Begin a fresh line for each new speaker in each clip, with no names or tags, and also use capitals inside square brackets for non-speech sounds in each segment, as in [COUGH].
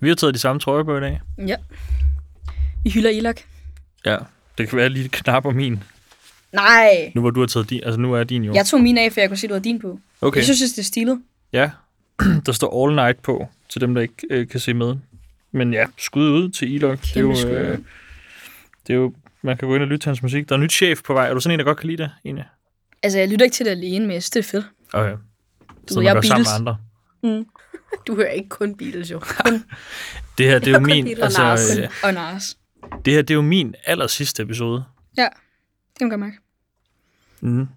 Vi har taget de samme trøjer på i dag.
Ja. Vi hylder Ilak.
Ja. Det kan være lige knap om min.
Nej.
Nu hvor du har taget din, altså nu er din jo.
Jeg tog min af, for jeg kunne se, du havde din på.
Okay.
Jeg synes, det er stilet.
Ja. [CLEARS THROAT] Der står All Night på, til dem, der ikke øh, kan se med. Men ja, skud ud til Ilok. Det er
Kæmpe
jo,
skud
øh,
ud.
det er jo, man kan gå ind og lytte til hans musik. Der er nyt chef på vej. Er du sådan en, der godt kan lide det, egentlig?
Altså, jeg lytter ikke til det alene, men jeg synes, det er fedt.
Okay. Så
ved,
man
jeg
gør
er
sammen med
Beatles.
andre.
Du hører ikke kun Beatles, jo.
Det her, det er jo
kan
min,
lide
altså,
Lars.
øh,
Og Nars.
det her, det er jo min aller sidste episode.
Ja, det kan man godt mærke.
Mm. Men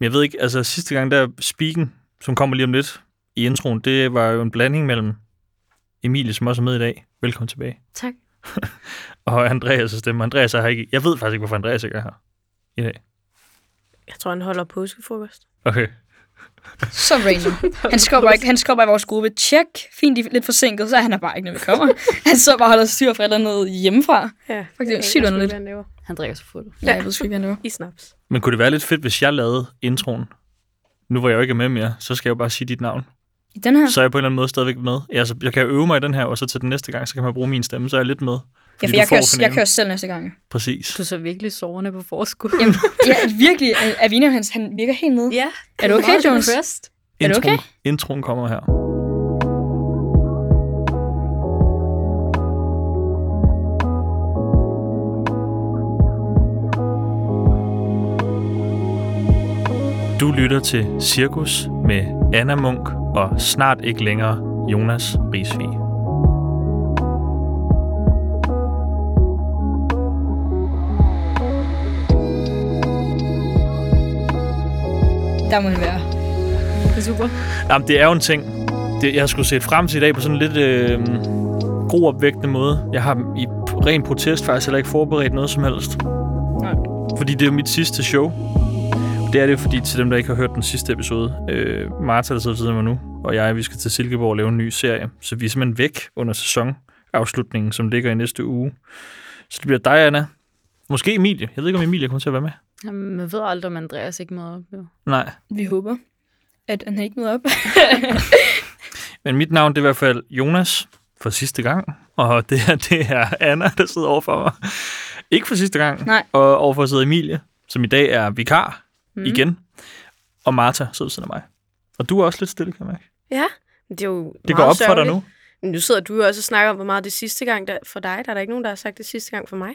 jeg ved ikke, altså sidste gang der, Spiken, som kommer lige om lidt i introen, det var jo en blanding mellem Emilie, som også er med i dag, velkommen tilbage,
Tak.
og Andreas' stemme. Andreas er her ikke. Jeg ved faktisk ikke, hvorfor Andreas ikke er her i dag.
Jeg tror, han holder påskefrokost.
Okay.
[LAUGHS] Så random. Han skubber, ikke, han skubber i vores gruppe. Tjek. Fint, de er lidt forsinket, så er han her bare ikke, når vi [LAUGHS] kommer. Han så bare og holder styr for et eller andet hjemmefra.
Ja,
Fuck, det er sygt underligt.
lidt.
Han drikker sig fuld.
Ja, jeg ved sgu ikke, hvad han laver.
I snaps.
Men kunne det være lidt fedt, hvis jeg lavede introen? Nu hvor jeg jo ikke er med mere, så skal jeg jo bare sige dit navn.
I den her?
Så er jeg på en eller anden måde stadigvæk med. Altså, jeg kan jo øve mig i den her, og så til den næste gang, så kan man bruge min stemme, så er jeg lidt med.
Ja,
Fordi
for
du får
jeg kører, jeg
finalen.
kører selv næste gang.
Præcis.
Du så virkelig sårende på forskud.
Jamen, ja, virkelig. øh, Avina, han, han virker helt nede.
Ja.
Er du okay, Jones?
Først.
Er det
Introen,
okay?
introen kommer her. Du lytter til Cirkus med Anna Munk og snart ikke længere Jonas Risvig.
Der må han være.
Det er super.
Jamen, det er jo en ting. Det, jeg skulle set frem til i dag på sådan en lidt øh, groopvægtende måde. Jeg har i ren protest faktisk heller ikke forberedt noget som helst.
Nej.
Fordi det er jo mit sidste show. Det er det fordi, til dem, der ikke har hørt den sidste episode, øh, Martha, der sidder ved siden af mig nu, og jeg, vi skal til Silkeborg og lave en ny serie. Så vi er simpelthen væk under sæsonafslutningen, som ligger i næste uge. Så det bliver dig, Anna. Måske Emilie. Jeg ved ikke, om Emilie kommer til at være med.
Jamen, man ved aldrig, om Andreas ikke møder op. Jo.
Nej.
Vi håber, at han ikke møder op.
Men mit navn det er i hvert fald Jonas for sidste gang, og det her det er Anna, der sidder overfor mig. Ikke for sidste gang,
Nej.
og overfor sidder Emilie, som i dag er vikar mm. igen, og Martha sidder ved siden af mig. Og du er også lidt stille, kan jeg mærke.
Ja. Men Det er jo
Det
meget
går op for dig
sørgeligt.
nu.
Men Nu sidder du jo også og snakker om, hvor meget det er sidste gang der, for dig. Der er der ikke nogen, der har sagt det sidste gang for mig.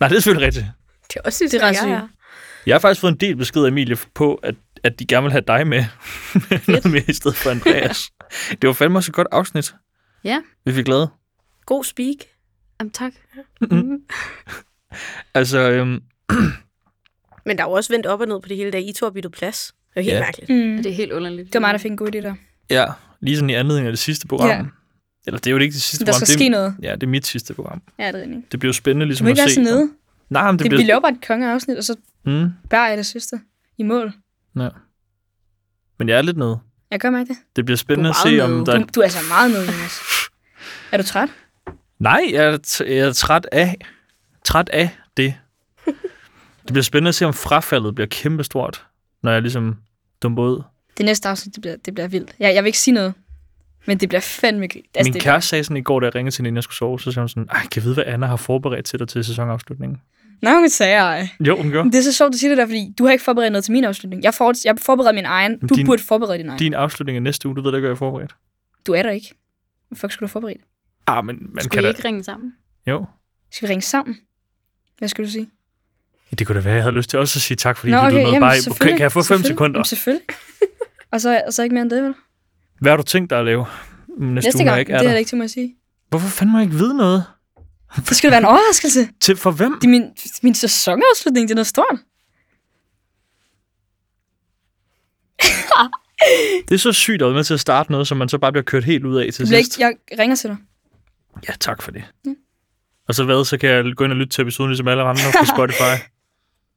Nej, det er selvfølgelig rigtigt.
Det er også sidste
Det er ret
gang, jeg
sygt.
Jeg har faktisk fået en del besked af Emilie på, at, at de gerne vil have dig med, [LAUGHS] Noget med i stedet for Andreas. det var fandme også et godt afsnit.
Ja.
Vi fik lavet.
er. God speak.
Jamen, tak.
Altså, øhm,
Men der er jo også vendt op og ned på det hele, da I to har byttet plads. Det er jo helt
Ja.
ja. mærkeligt.
Mm.
Det er helt underligt.
Det var mig, der fik en god idé der.
ja, lige sådan i anledning af det sidste program.
Ja.
Eller det er jo ikke det sidste
Der
program.
skal
det er,
ske noget.
Ja, det er mit sidste program.
Ja, det er rigtigt.
Det bliver jo spændende
Du
ligesom
må ikke
at
være
se.
så nede.
Nej, men det,
Det,
det
vi
bliver...
laver bare et kongeafsnit, og så
Mm,
bærer jeg det sidste i mål.
ja. Men jeg er lidt nede.
Jeg gør mig det.
Det bliver spændende at
Du er
se,
meget
om
nede.
der...
Du, du er altså meget nede, Jonas. Er du træt?
Nej, jeg er, t- jeg er træt af... Træt af det. det bliver spændende at se, om frafaldet bliver kæmpestort, når jeg ligesom dumper ud.
Det næste afsnit, det bliver, det bliver vildt. Jeg, jeg vil ikke sige noget, men det bliver fandme... gri-
Altså, Min
det,
kæreste sagde sådan i går, da jeg ringede til hende, inden jeg skulle sove, så sagde hun sådan, Ej, kan jeg vide, hvad Anna har forberedt til dig til sæsonafslutningen?
Nå, hun sagde ej.
Jo, hun gjorde.
Det er så sjovt, du siger det der, fordi du har ikke forberedt noget til min afslutning. Jeg, for, jeg forbereder min egen. Du
din-
din, burde forberede din egen. Din,
Din afslutning er næste uge, du ved da ikke, hvad jeg har forberedt.
du er der ikke. Hvad fuck skulle du forberede?
Ah, men man
Skulle
kan
vi
da...
ikke ringe sammen?
Jo.
Skal vi ringe sammen? Hvad skal du sige?
Det kunne da være, jeg havde lyst til også at sige tak, fordi Nå, du okay, med. Bare, i- kan,
selvfølgelig,
kan jeg få fem
selvfølgelig.
sekunder?
Jamen, selvfølgelig. og, så, og så ikke mere end det, vel?
Hvad har du tænkt dig at lave næste,
Næste
uge, når
gang,
jeg ikke
det
er
er
der?
jeg ikke til mig at sige.
Hvorfor fanden må jeg ikke vide noget?
Det skal da være en overraskelse.
Til for hvem?
Det er min, min sæsonafslutning, det er noget stort.
Det er så sygt at være med til at starte noget, som man så bare bliver kørt helt ud af
Du
til
bliver Mm.
sidst.
ikke, jeg ringer til dig.
Ja, tak for det. Og så hvad, så kan jeg gå ind og lytte til episoden, ligesom alle andre
[LAUGHS]
på Spotify.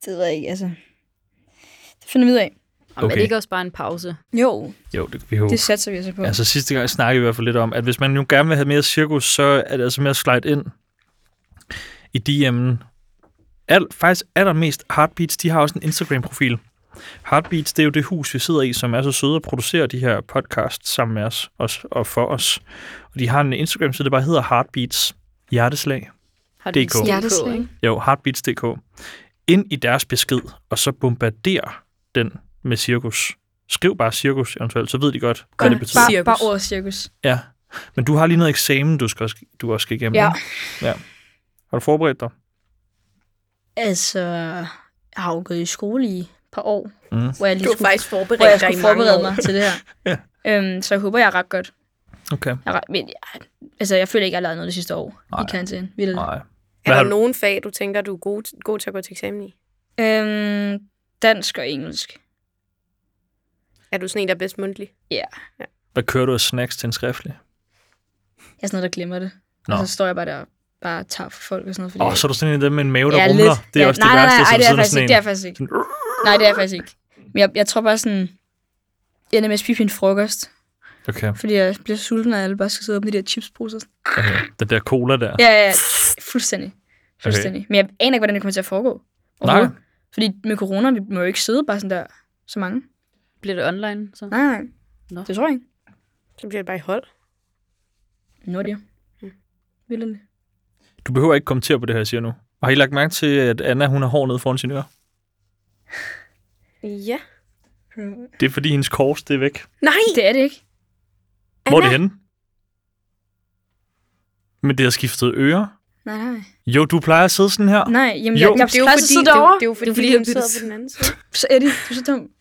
Det ved jeg ikke, altså. Det finder vi ud af.
Jamen, okay.
Okay.
Er det ikke også bare en pause?
Jo,
Jo, det kan vi håbe.
det satser vi altså på.
Altså sidste gang snakkede vi i hvert fald lidt om, at hvis man nu gerne vil have mere cirkus, så er det altså med at slide ind i DM'en. Al, faktisk allermest Heartbeats, de har også en Instagram-profil. Heartbeats, det er jo det hus, vi sidder i, som er så søde og producerer de her podcasts sammen med os og, og for os. Og de har en Instagram-side, der bare hedder Heartbeats. Hjerteslag.
Har du
DK.
en
Hjerteslag.
ikke?
Jo, heartbeats.dk. Ind i deres besked, og så bombarder den med cirkus. Skriv bare cirkus eventuelt, så ved de godt, hvad
Godt.
det betyder.
Bare,
Cirkus.
bare ordet cirkus.
Ja. Men du har lige noget eksamen, du, skal også, du også skal igennem.
Ja.
ikke? ja. Har du forberedt dig?
Altså, jeg har jo gået i skole i et par år,
Mm.
hvor jeg lige
Du har
skulle,
faktisk
hvor jeg
forberedt dig i
skulle
mange
forberede
år.
mig til det her.
[LAUGHS] Ja.
Øhm, så jeg håber, jeg er ret godt.
Okay.
Jeg, er ret- men jeg, altså, jeg føler ikke, jeg har lavet noget det sidste år
Nej.
i karantæne. Vildt.
Nej. Hvad
Er
har
der
du?
nogen fag, du tænker, du er god, god til at gå til eksamen i?
Øhm, dansk og engelsk.
Er du sådan en, der er bedst mundtlig?
Hvad kører du af snacks til en skriftlig?
Jeg er sådan noget, der glemmer det.
Nå.
Og så står jeg bare der og bare tager for folk og sådan noget.
Åh, oh, så er du sådan en af dem med en mave, der
jeg er
rumler. Det er
ja,
også
nej,
det
nej,
værste. som
nej, nej, det er jeg
sådan
faktisk
sådan en-
ikke. Det er jeg faktisk ikke. Nej, det er jeg faktisk ikke. Men jeg, jeg tror bare sådan... Jeg ender med at spise min frokost,
Okay,
fordi jeg bliver sulten, og alle bare skal sidde op med de der chipsposer.
okay. Den der cola der.
Ja, ja, ja. Fuldstændig. Fuldstændig. Men jeg aner ikke, hvordan det kommer til at foregå.
Nej.
Overhovedet. Fordi med corona, vi må jo ikke sidde bare sådan der så mange.
Bliver det online? Så?
Nej, nej.
Nå.
Det tror jeg ikke.
Så bliver det bare i hold.
Nu er det jo. Vildt.
Du behøver ikke kommentere på det her, jeg siger nu. Og har I lagt mærke til, at Anna hun har hår nede foran sin øre?
Ja.
Det er fordi, hendes kors det er væk.
Nej!
Det er det ikke.
Hvor er det henne? Men det har skiftet ører.
Nej, nej.
Jo, du plejer at sidde sådan her.
Nej, jamen,
Jo.
jo. jeg, jeg
Det er jo
presser
fordi,
sidder
det, er jo-
derovre.
det er jo fordi,
fordi,
hun
det-
sidder på den anden side.
Så Eddie, du er så dum.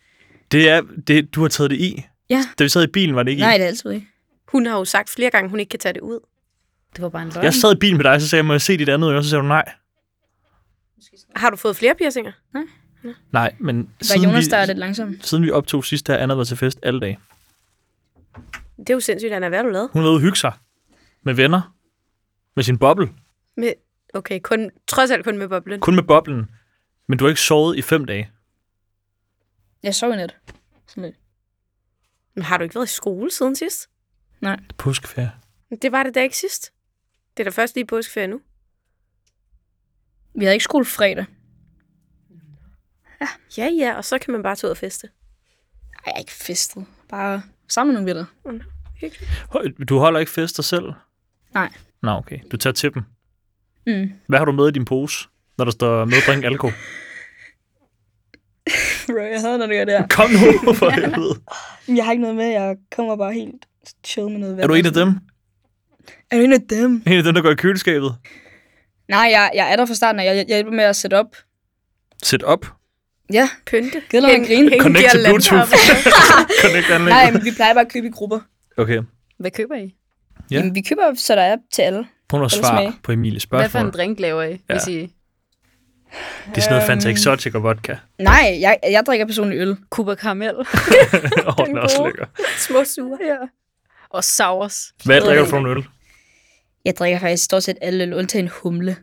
Det er, det, du har taget det i.
Ja.
Da vi sad i bilen, var det ikke
Nej,
i.
det er altid ikke.
Hun har jo sagt flere gange, hun ikke kan tage det ud.
Det var bare en løgn.
Jeg sad i bilen med dig, så sagde jeg, må jeg se dit andet øre? Så sagde du nej.
Har du fået flere piercinger?
Nej, men
Var
siden
Jonas,
vi,
der er lidt langsom.
siden vi optog sidst, der har Anna været til fest alle dage.
Det er jo sindssygt, Anna. Hvad har du lavet?
Hun har været ude at hygge sig med venner, med sin boble,
Med, okay, kun, trods alt kun med boblen.
kun med boblen. Men du har ikke sovet i fem dage.
Jeg sov i nat. Sådan lidt.
Men har du ikke været i skole siden sidst?
Påskeferie.
Det var det da ikke sidst. Det er da først lige påskeferie nu.
Vi havde ikke skole fredag.
Ja, ja, og så kan man bare tage ud og feste.
Ej, jeg er ikke festet. Bare sammen med nogle venner.
Høj, Du holder ikke fester selv?
Nej.
Nå, okay. Du tager til dem.
Mm. [LAUGHS]
Hvad har du med i din pose, når der står medbring alkohol?
Bro, jeg havde noget der.
Kom nu, for helvede.
Jeg har ikke noget med. Jeg kommer bare helt chill med noget vand.
Er du en af dem?
Er du en af dem?
En af dem, der går i køleskabet?
Nej, jeg, jeg er der fra starten, og jeg, jeg hjælper med at sætte op.
Sæt op.
Ja,
Pynte.
gider mig at grine.
[LAUGHS] Connect til
girlander
Bluetooth.
op.
Connect anlæg.
Nej, men vi plejer bare at købe i grupper.
Okay.
Hvad køber I?
Ja.
Ja. Jamen, vi køber, så der er til alle.
Prøv at
Eller
svare
smage.
på Emilies
Hvad for
spørgsmål.
en drink laver I? Hvis I
Det er sådan
Øhm.
noget Fanta Exotic og vodka.
Nej, jeg, jeg drikker personligt øl.
Cuba Caramel
[LAUGHS] Åh, oh, den er også
gode.
lækker.
[LAUGHS] Små sure.
og sours.
Hvad drikker du for en øl?
Jeg drikker faktisk stort set alle øl, undtagen humle.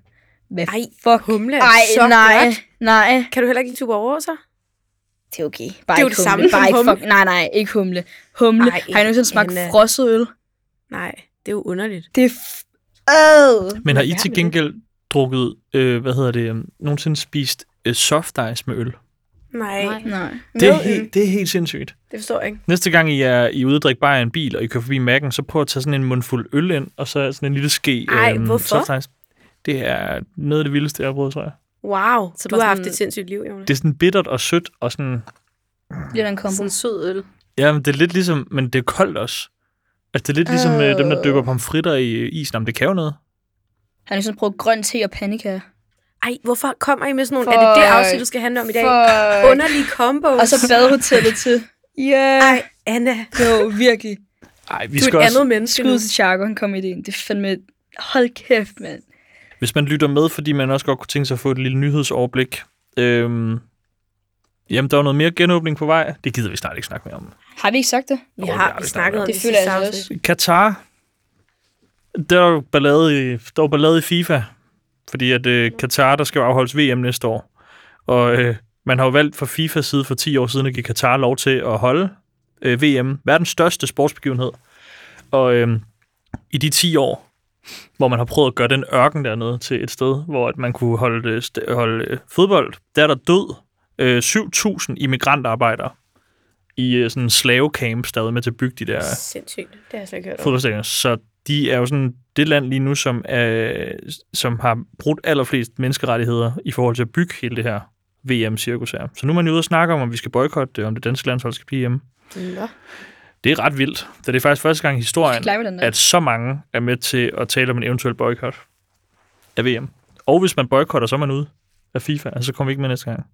Hvad
Ej,
fuck?
humle er
Ej,
så
nej,
godt.
nej.
Kan du heller ikke en tur over så?
Det er okay. Bare
Det er jo
ikke humle.
det samme som
Bare ikke
humle.
fuck. Nej, nej, ikke humle. Humle.
Ej,
Ej, har I nogensinde smagt
Anna.
frosset øl?
Nej, det er jo underligt.
Det er f- øh.
Men har I
Ja,
til
men-
gengæld drukket, øh, hvad hedder det, øhm, nogensinde spist øh, soft ice med øl?
Nej,
Nej.
Nej.
Det er,
Med øl?
helt, det er helt sindssygt.
det forstår jeg ikke.
Næste gang I er i uddrik bare i en bil, og I kører forbi Mac'en, så prøv at tage sådan en mundfuld øl ind, og så sådan en lille ske øhm,
Ej, hvorfor?
soft ice. Det er noget af det vildeste, jeg har prøvet, tror jeg.
Wow,
Så
så du
bare
har haft
sådan-
et sindssygt liv, Jonas.
Det er sådan bittert og sødt, og sådan...
Det er da en kombo.
Sådan en sød øl.
Ja, men det er lidt ligesom... Men det er koldt også. Altså, det er lidt ligesom øh, dem, der
Øh.
dypper pomfritter i øh, isen. Jamen, det kan jo noget.
Har I sådan prøvet grøn te og pandekager?
Ej, hvorfor kommer I med sådan nogle...
For-
Er det det afsnit, du skal handle om i dag?
For...
Underlige combos.
Og så badehotellet til. Yeah.
Ej, Anna,
Jo, virkelig.
Ej, vi
du er
skal
et
også...
andet menneske nu.
Skud til Charco, han kom i ideen. Det er fandme... Hold kæft, mand.
Hvis man lytter med, fordi man også godt kunne tænke sig at få et lille nyhedsoverblik. Øhm, jamen, der er noget mere genåbning på vej. Det gider vi snart ikke snakke mere om.
Har vi ikke sagt det?
Vi
Åh, det har
har
vi
vi
snakket
snakket
om.
om
Det
i
føler jeg
sidste
altså
afsnit.
også.
Katar. Der var jo ballade i, der var ballade i FIFA, fordi at øh, Katar, der skal jo afholdes VM næste år. Og øh, man har jo valgt fra FIFAs side for 10 år siden at give Katar lov til at holde øh, VM, verdens største sportsbegivenhed. Og øh, i de 10 år, hvor man har prøvet at gøre den ørken dernede til et sted, hvor at man kunne holde, det, st- holde øh, fodbold, øh, der er der død øh, 7.000 immigrantarbejdere i øh, sådan slavecamps, der er med til at bygge de der
Sindssygt. Det har jeg slet ikke hørt om.
fodboldstadioner. Så de er jo sådan det land lige nu, som, er, som har brudt allerflest menneskerettigheder i forhold til at bygge hele det her VM-cirkus her. Så nu er man jo ude og snakke om, om vi skal boykotte det, om det danske landshold skal blive hjemme.
Nå.
Det er ret vildt, da det er faktisk første gang i historien,
Klarer vi den der?
at så mange er med til at tale om en eventuel boykot af VM. Og hvis man boykotter, så er man ude af FIFA, altså så kommer vi ikke med næste gang.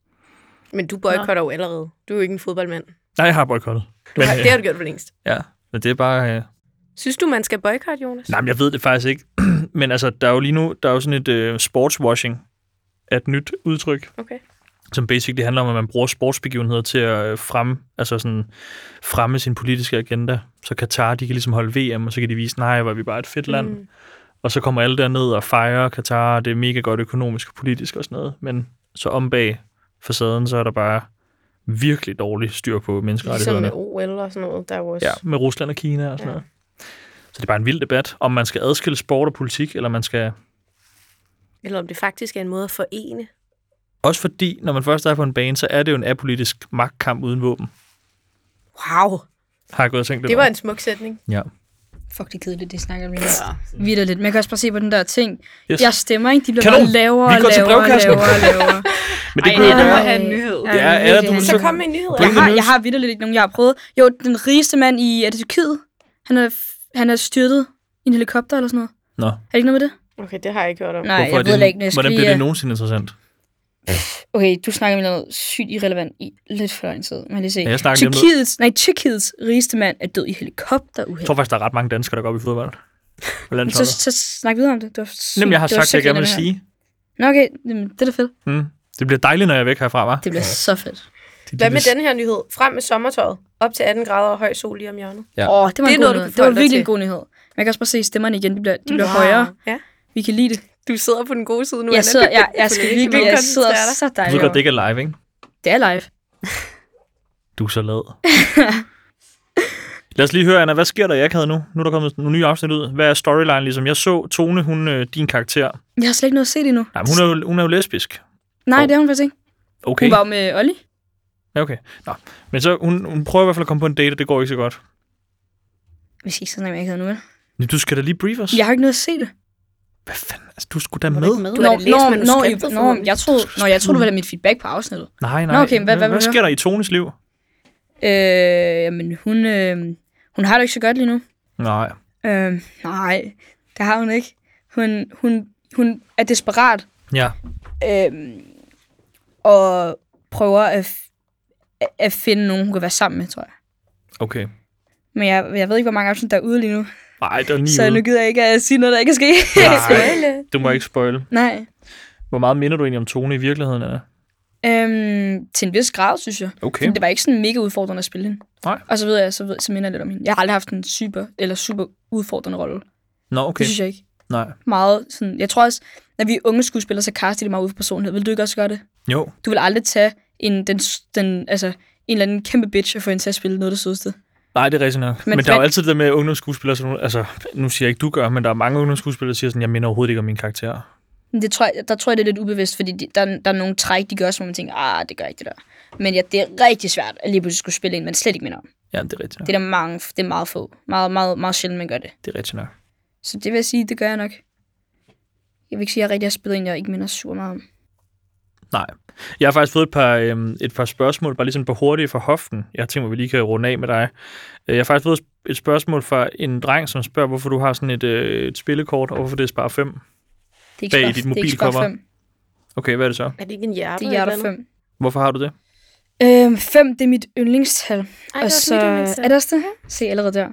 Men du boykotter jo allerede. Du er jo ikke en fodboldmand.
Nej, jeg har boykottet.
Du
øh,
har, det har du gjort for længst.
ja, men det er bare... Øh...
Synes du, man skal boykotte, Jonas?
Nej, men jeg ved det faktisk ikke. [CLEARS THROAT] men altså, der er jo lige nu der er jo sådan et øh, sportswashing af et nyt udtryk,
Okay.
som basically handler om, at man bruger sportsbegivenheder til at øh, fremme, altså sådan, fremme sin politiske agenda. Så Katar, de kan ligesom holde VM, og så kan de vise, nej, hvor er vi bare et fedt land. Mm. Og så kommer alle derned og fejrer Katar, og det er mega godt økonomisk og politisk og sådan noget. Men så om bag facaden, så er der bare virkelig dårlig styr på
Ligesom
menneskerettighederne.
med OL og sådan noget, der er jo også...
Ja, med Rusland og Kina og sådan ja.
Ja.
noget. Så det er bare en vild debat, om man skal adskille sport og politik, eller man skal...
Eller om det faktisk er en måde at forene.
Også fordi, når man først er på en bane, så er det jo en apolitisk magtkamp uden våben.
Wow!
Har jeg gået og tænkt lidt
Det var
over.
en smuk sætning.
Ja.
Fuck, det er kedeligt, det snakker vi om. Videre lidt. Men jeg kan også bare se på den der ting.
Yes.
Yes. Jeg stemmer, ikke? De bliver
Kanon.
bare lavere
Vi
og
går til
lavere og
brevkassen.
lavere og [LAUGHS] lavere.
Men det
Ej,
kunne jo
Anna må
være...
Ej.
have en nyhed.
Ja,
Ja,
virkelig,
Anna, du må
han-
Så kom med en nyhed.
Jeg
Pointen
har,
løs.
jeg har vidderligt ikke nogen, jeg har prøvet. Jo, den rigeste mand i, er det Tyrkiet? Han er, f- han er styrtet i en helikopter eller sådan noget.
Nå,
Er det ikke noget med det?
Okay, det har jeg ikke hørt om.
Nej,
hvorfor er
jeg ved det ikke. men Jeg
det,
skal
hvordan
lige,
bliver det
øh,
nogensinde interessant?
Okay, du snakker om noget sygt irrelevant i lidt for lang tid. Men lige se.
Ja, jeg snakker lige om noget.
Tyrkiets, nej, Tyrkiets rigeste mand er død i helikopter.
Jeg tror faktisk, der er ret mange danskere, der går op i fodbold. På
Så,
landsholdet.
så snak videre om det. det var sygt-
Jamen, jeg har
det var
sagt,
sygt
det jeg gerne vil
irrelevant.
sige.
Nå, okay. Jamen, det er da fedt.
Mm. Det bliver dejligt, når jeg er væk herfra, hva'?
Det bliver så fedt.
De
Hvad med
lille-
den her nyhed? Frem med sommertøjet. Op til 18 grader og høj sol lige om hjørnet.
Ja.
Åh, oh, det var
Det
det
er
en god
noget, du
nyhed.
kan
Det var
forholde dig
virkelig en
til.
god nyhed. Man kan også bare se stemmerne igen. De bliver, de bliver højere.
Ja.
Vi kan lide det.
Du sidder på den gode side nu,
Jeg
Anna.
[LAUGHS] sidder, jeg, jeg
Du
skal
kan
virkelig,
ikke
jeg sidder
koncentrere dig.
Du
så
ved
dejligt.
godt, det ikke er live, ikke?
Det er live.
Du er så lad. Lad os lige høre, Anna, hvad sker der i akavet nu? Nu er der kommet nogle nye afsnit ud. Hvad er storyline ligesom? Jeg så Tone, hun, øh, din karakter.
Jeg har slet ikke noget at se det endnu.
Nej, men hun er jo, hun er jo lesbisk.
Nej, det har hun faktisk ikke.
Okay.
Hun var jo med Olli.
Ja, okay. Nå. Men så, hun, hun prøver i hvert fald at komme på en date, og det går ikke så godt.
Vi skal ikke snakke om akavet nu, vel?
Men du skal da lige brief os.
Jeg har ikke noget at se det.
Hvad fanden? Altså, du skulle da
Må
med.
du ikke med? Du har
Når,
da læst
når, når,
manuskriptet
når,
forhåbentlig.
jeg troede, når jeg troede, det var da mit feedback på afsnittet.
Nej, nej.
Nå, okay, men hvad- hvad vil
hvad
du
sker der i Tones liv?
Øh, jamen, hun, øh, hun har det ikke så godt lige nu.
Nej.
Øh, nej, det har hun ikke. Hun, hun, hun er desperat
Ja.
øh, og prøver at, f- at- at finde nogen, hun kan være sammen med, tror jeg.
Okay.
Men jeg, jeg ved ikke, hvor mange afsnit der er ude lige nu,
Nej, der er ni
så nu
ude.
gider jeg ikke at sige noget, der ikke er sket.
Nej, du må ikke spoil.
[LAUGHS] Nej.
Hvor meget minder du egentlig om Tone i virkeligheden, Anna?
Øhm, til en vis grad, synes jeg.
Okay.
Okay. Det var ikke sådan mega udfordrende at spille hende.
Nej.
Og så ved jeg, så, ved, så minder jeg lidt om hende. Jeg har aldrig haft en super, eller super udfordrende rolle. Okay.
Nå,
Det
okay.
synes jeg ikke.
Nej.
Meget sådan, jeg tror også, når vi er unge skuespillere, så kaster de det meget ud for personlighed. Vil du ikke også gøre det?
Jo.
Du vil aldrig tage en, den, den, altså, en eller anden kæmpe bitch og få hende til at spille noget af det sødeste.
Nej, det er rigtigt nok. Men,
Men
men der er jo
hvad-
altid det der med ungdomsskuespillere, som, altså, nu siger jeg ikke, du gør, men der er mange ungdomsskuespillere, der siger sådan, jeg minder overhovedet ikke om min karakter.
Men Det tror jeg, der tror jeg, det er lidt ubevidst, fordi de, der, der er nogle træk, de gør, som man tænker, ah, det gør ikke det der. Men ja, det er rigtig svært at lige pludselig skulle spille en, man slet ikke minder om.
Ja, det er rigtigt nok.
Det er der mange, det er meget få. Meget, meget, meget sjældent, man gør det.
Det er rigtigt nok.
Så det vil jeg sige, det gør jeg nok. Jeg vil ikke sige, at jeg rigtig har spillet en, jeg ikke minder super meget om.
Nej. Jeg har faktisk fået et par, øhm, et par spørgsmål, bare lige sådan på hurtigt fra hoften. Jeg tænker, vi lige kan runde af med dig. Øh, Jeg har faktisk fået et spørgsmål fra en dreng, som spørger, hvorfor du har sådan et, øh, et spillekort, og hvorfor det er spar 5.
Det er ikke
Bag
spot-
dit
det er ikke spot
mobilcover.
fem.
Okay, hvad er det så?
Er det ikke en hjerte?
Det er hjerter
eller noget?
5.
Hvorfor har du det?
Øhm, 5, det er mit yndlingstal.
Ej, det
og
er
så,
også mit Mhm. yndlingstal.
er det også det? Se allerede der.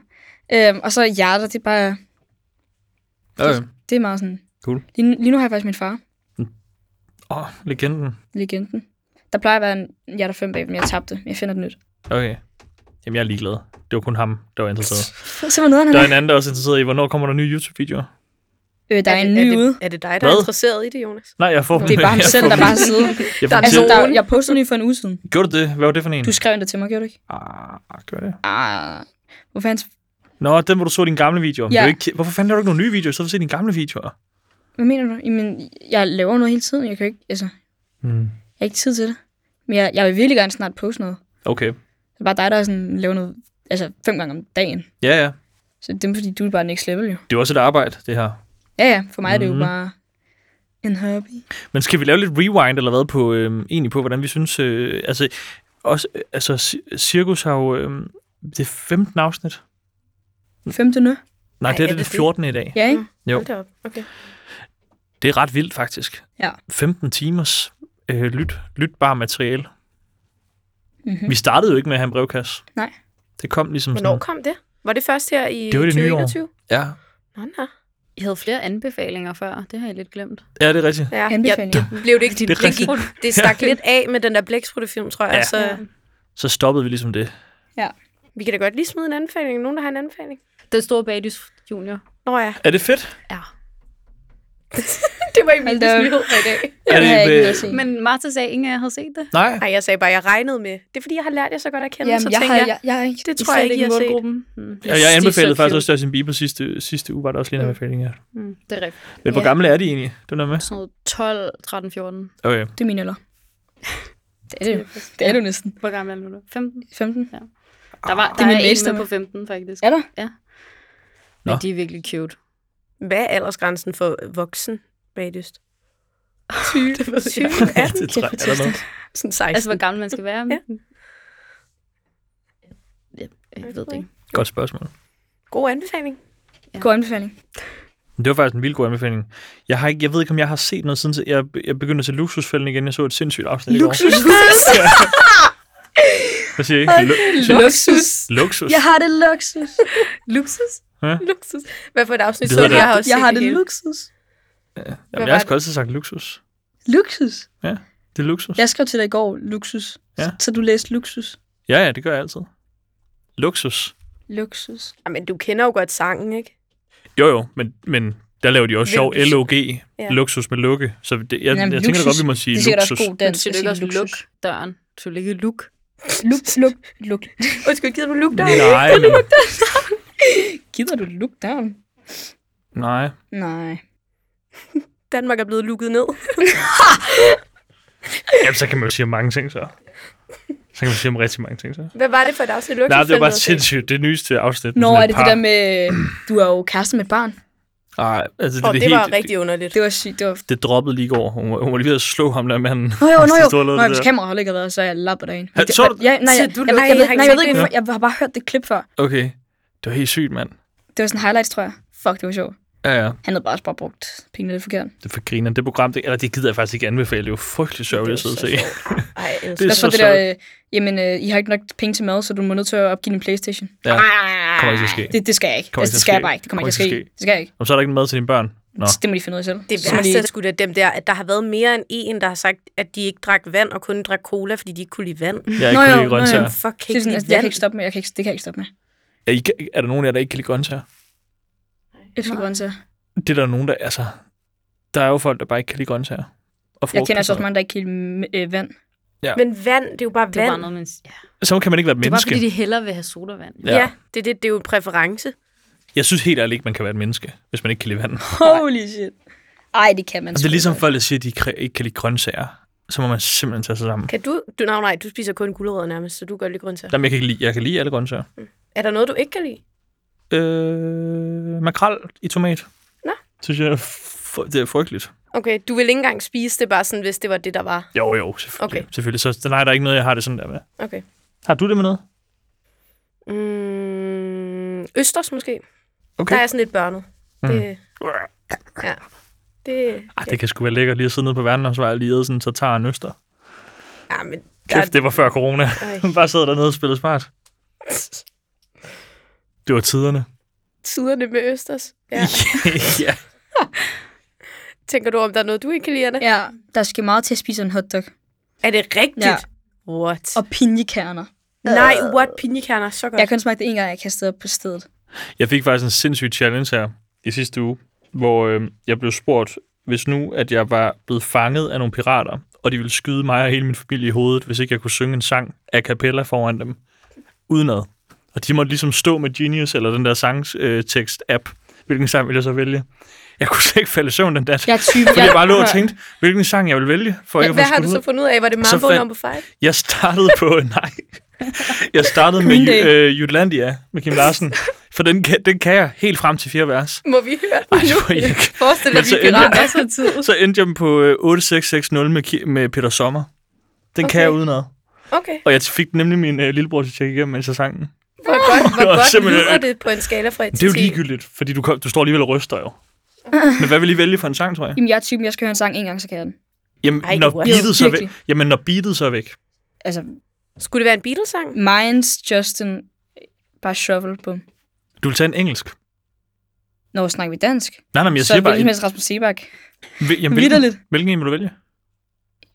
Øhm, og så hjerter, det er bare,
Øh.
det er meget sådan.
Cool.
Lige, nu- lige nu har jeg faktisk min far.
Åh, oh, legenden.
legenden. Der plejer at være en hjerter 5 bag, men jeg tabte. Jeg finder den nyt.
Okay. Jamen, jeg er ligeglad. Det var kun ham, der var [LAUGHS] interesseret.
Se, hvor nederen han
Der er
er.
en anden, der er også interesseret i, hvornår kommer der nye YouTube-videoer?
Øh, der er
det-
en ny
det,
ude.
Er det dig, der er
Hvad?
interesseret i det, Jonas?
Nej, jeg får dem.
Det er bare ham
[LAUGHS] Jeg
selv,
får
der
dem.
bare sidder.
Jeg får dem
Altså,
til.
der, jeg postede lige for en uge siden.
Gjorde du det? Hvad var det for en?
Du skrev den der til mig, gjorde du ikke?
Ah, gør det.
Ah, hvorfor hans...
Nå, den, hvor du så dine gamle videoer. Men
Ja.
det er jo Ikke... Hvorfor fanden laver du ikke nogle nye videoer, så du se dine gamle videoer?
Hvad mener du? Jamen, jeg laver noget hele tiden. Jeg kan jo ikke... Altså,
Mm.
jeg har ikke tid til det. Men jeg, jeg vil virkelig gerne snart poste noget.
Okay.
Det er bare dig, der sådan laver noget altså fem gange om dagen.
Ja, ja.
Så det er fordi, du er bare next level jo.
Det er jo også et arbejde, det her.
Ja, ja. For mig mm. er det jo
Mhm.
bare en hobby.
Men skal vi lave lidt rewind eller hvad på, øh, egentlig på, hvordan vi synes... Øh, altså, også, øh, altså, ci- Cirkus har jo... Øh, det er 15 afsnit.
Femte nu.
Nej,
Ej,
Ej, det er
er
det, det
det det?
14. i dag.
Ja, ikke?
Jo.
Hold da op. Okay.
Det er ret vildt, faktisk.
Ja.
15 timers øh, lyt, lytbar materiale.
Mm-hmm.
Vi startede jo ikke med at have en brevkasse.
Nej.
Det kom ligesom
Hvornår
sådan...
kom det? Var det først her i
Det var i det nye år.
2021?
Ja.
Nå, nå.
I havde flere anbefalinger før. Det har jeg lidt glemt.
ja, det er rigtigt.
Ja,
Anbefalinger.
ja, det blev det ikke.
Det er
Det, det,
rigtigt.
gik, det stak lidt af med den der blækspruttefilm, tror jeg.
Ja.
Ja. Så
Så stoppede vi ligesom det.
vi kan da godt lige smide en anbefaling. Nogen, der har en anbefaling?
Den store bagdys junior.
[LAUGHS]
Nå ja.
Er det fedt?
Ja.
Mm. Det var
Hold da op.
for i dag.
[LAUGHS] Er det,
Jeg har ikke
øh,
noget at se.
Men Martha sagde, at ingen af jer havde set det.
Nej.
Nej, jeg sagde bare, at jeg regnede med. Det er fordi, jeg har lært jer så godt at kende,
Jamen,
så
jeg,
tænker
har,
jeg,
jeg, jeg, har ikke...
det tror jeg ikke, I har set.
Mm.
Og jeg anbefalede faktisk også Justin Bieber sidste, sidste uge, var der også lige en anbefaling her.
Mm, det er rigtigt.
Men hvor
Ja.
gamle er de egentlig? Du er med?
Sådan noget 12, 13, 14.
Okay.
Det er mine eller. Det er det jo. Det er det jo næsten.
Hvor gammel er du? 15?
15.
Der
Det
var,
er
der
min
er
næste
en med
med.
på 15, faktisk.
Er der?
Nå.
Men de er virkelig cute.
Hvad er aldersgrænsen for voksen [LAUGHS] bagdyst?
20.
Syv, 18,
[LAUGHS] [LAUGHS] Det tror jeg, eller noget.
sådan 16.
Altså, hvor gammel man skal være.
Ja.
Jeg, jeg ved det ikke.
Godt spørgsmål.
God anbefaling.
God anbefaling.
Men Det var faktisk en vild god anbefaling. Jeg, har ikke, jeg ved ikke, om jeg har set noget siden... Jeg, jeg begyndte at se Luksusfælden igen. Jeg så et sindssygt afsnit i går. Hvad siger jeg? Lu- [LAUGHS]
Luksus.
luksus?
Jeg har det luksus.
Luksus?
Luksus. Hvad for et afsnit?
Det
så
hedder
jeg har også
jeg
set
har
det
det
hele.
luksus.
Jamen,
Hvad
jeg har
var
sgu
det?
altid sagt luksus.
Luksus?
Det er luksus.
Jeg skrev til dig i går, luksus.
Ja.
Så du læste luksus.
Ja, ja, det gør jeg altid. Luksus.
Luksus.
Jamen, du kender jo godt sangen, ikke?
Jo, jo, men, men der laver de også sjov
Luksus.
LOG.
Ja.
Luksus med lukke. Så det, jeg,
Jamen,
jeg tænker da
luksus.
godt, vi må
Det
sige
er sikkert også
luksus.
god
Men
dansk
siger
at
du ikke
sige
også luk
luksus.
døren? Du skal ikke luk.
Luk, luk, luk.
Undskyld, gider du lukke dig?
[LAUGHS] Nej, men,
Gider du luk down?
nej.
Nej.
Danmark er blevet lukket ned.
Jamen, så kan man jo sige om mange ting, så. Så kan man sige om rigtig mange ting, så.
Hvad var det for et afsnit? Du
Nej, det var bare sindssygt. Det nyeste afsnit. med
Nå,
sådan
er
et
det
par.
det der med, du er jo kæreste med et barn.
Nej, altså det,
Og det var
helt,
rigtig underligt.
Det var sygt. Det var...
Det, det droppede lige i går. Hun, var- hun var lige ved at slå ham der manden.
Nå jo, nå
Det
jo.
store lort,
Nå,
det
hvis
der.
kameraet ikke har været, så er jeg lapper derinde.
Ha- så du-
ja, nej,
Så
jeg,
du
jeg, jeg,
lukker-
jeg, ved-
jeg har
nej, jeg,
ikke
ved ikke,
set
hvorfor. Jeg har bare hørt det klip før.
Okay. Det var helt sygt, mand.
Det var sådan highlights, tror jeg. Fuck, det var sjovt.
Ja, ja.
Han havde bare også bare brugt pengene lidt forkert.
Det er for griner. Det program, det, eller det gider jeg faktisk ikke anbefale. Det er jo frygtelig sørgeligt at sidde og se.
Ej,
Det er
Hvad
så
så det der, øh, jamen, øh, I har ikke nok penge til mad, så du må nødt til at opgive din Playstation.
Ja, kommer ikke til at ske.
Det, det skal jeg ikke.
Kommer ikke til
Altså, det
at
skal jeg
ske.
bare ikke. Det kommer ikke til at
Kommer ikke
ske.
til at
Det skal jeg ikke.
Og så er der ikke mad til dine børn. Nå.
Det må de finde ud af selv.
Det
Så må
værste
de-
er sgu da dem der, at der har været mere end en, der har sagt, at de ikke drak vand og kun drak cola, fordi de ikke kunne lide vand.
Jeg er ikke
Nå
kunne
jo,
lide
nå jo.
grøntsager.
Fuck, kan
Det er
ikke
sådan,
lide
altså, jeg kan
vand.
ikke stoppe med. Jeg kan ikke, det kan jeg ikke stoppe med.
Er, I, er der nogen af jer, der ikke kan lide grøntsager?
Jeg skal grøntsager.
Det er der nogen, der... Altså, der er jo folk, der bare ikke kan lide grøntsager. Og
Jeg
frugt
kender
og
altså
sådan
også mange, der ikke kan lide m- øh, vand.
Men vand, det er jo bare
Det er
vand.
bare noget, man... Ja.
noget. Så kan man ikke være et
Det er bare,
menneske.
fordi de hellere vil have sodavand.
ja. ja, det, er det, det er jo en præference.
Jeg synes helt ærligt ikke, man kan være et menneske, hvis man ikke kan lide vand.
Holy shit. Ej, det kan man
Og det
sgu
er ligesom
godt.
folk, der siger, at de kre- ikke kan lide grøntsager. Så må man simpelthen tage sig sammen.
Kan du... du nej, nej, du spiser kun gulerødder nærmest, så du kan godt lide grøntsager.
Jamen, jeg kan, ikke lide, jeg kan lide alle grøntsager.
Er der noget, du ikke kan lide?
Øh, makrel i tomat.
Nå.
Synes jeg, er fr- det er frygteligt.
Okay, du vil ikke engang spise det bare sådan, hvis det var det, der var.
Jo, jo, selvfølgelig.
Okay.
selvfølgelig. Så nej, der er ikke noget, jeg har det sådan der med.
Okay.
Har du det med noget?
Mm, østers måske.
Okay.
Der er jeg sådan lidt børnet.
Mm.
Det, ja. Det,
Ej, det kan sgu være lækkert lige at sidde nede på verden, og så var jeg lige æde sådan, så tager en øster.
ja, men der,
Kæft, det var før corona. [LAUGHS]
Ej.
Bare sidde dernede og spille smart.
[LAUGHS]
Det var tiderne.
tiderne med østers.
[LAUGHS]
Ja.
ja.
Tænker du, om der er noget, du ikke kan lide, Anna?
Ja, der skal meget til at spise en hotdog.
Er det rigtigt?
Ja.
What?
Og pinjekerner.
Nej, what? Pinjekerner er så godt.
Jeg kun smagte det en gang, jeg kastede op på stedet.
Jeg fik faktisk en sindssyg challenge her i sidste uge, hvor øh, jeg blev spurgt, hvis nu, at jeg var blevet fanget af nogle pirater, og de ville skyde mig og hele min familie i hovedet, hvis ikke jeg kunne synge en sang a cappella foran dem, udenad. Og de måtte ligesom stå med Genius eller den der sangstekst-app hvilken sang vil jeg så vælge? Jeg kunne slet ikke falde i søvn den dag.
Jeg er typen.
Fordi jeg bare lå og tænkte, hvilken sang jeg vil vælge, for ikke
Hvad
at få
har du
skudt
så
ud.
fundet ud af? Var det
Så
Mambo
fandt-
number 5?
Jeg startede på,
[LAUGHS]
nej. Jeg startede med
Green Day.
Ju- øh, Jutlandia med Kim
[LAUGHS]
Larsen. For den kan, den kan jeg helt frem til fire vers.
Må vi høre den
Ej, det var
nu?
ikke.
Forestil dig,
Men
at
så
vi
endte
pirater.
Masser af tid.
Så endte jeg på øh, 8660 med, Ki- med Peter Sommer. Den okay.
Okay.
kan jeg udenad.
Okay.
Og jeg fik nemlig min øh, lillebror til at tjekke igennem, mens jeg sang den.
Hvor godt,
[LAUGHS]
hvor
Det var
godt
simpelthen-
lyder det på en skala fra 1
Men
til
det er
10?
jo ligegyldigt, fordi du, kom, du står alligevel og ryster
[LAUGHS]
jo. Men hvad vil I vælge for en sang, tror jeg?
Jamen, jeg er typen, jeg skal høre en sang en gang, så kan jeg den.
Jamen,
Ej,
Ej, når
hvor-
beatet så er væk,
Virkelig.
jamen, når beatet så er væk.
Altså,
Skulle det være en Beatles-sang?
Minds, Justin, øh, bare shuffle på.
Du vil tage en engelsk.
Når snakker vi dansk,
Nej, nej, men jeg
så
siger
er
bare...
det helst Rasmus Sebak.
Hvil- Jamen,
Vitterligt.
hvilken, hvilken en vil du vælge?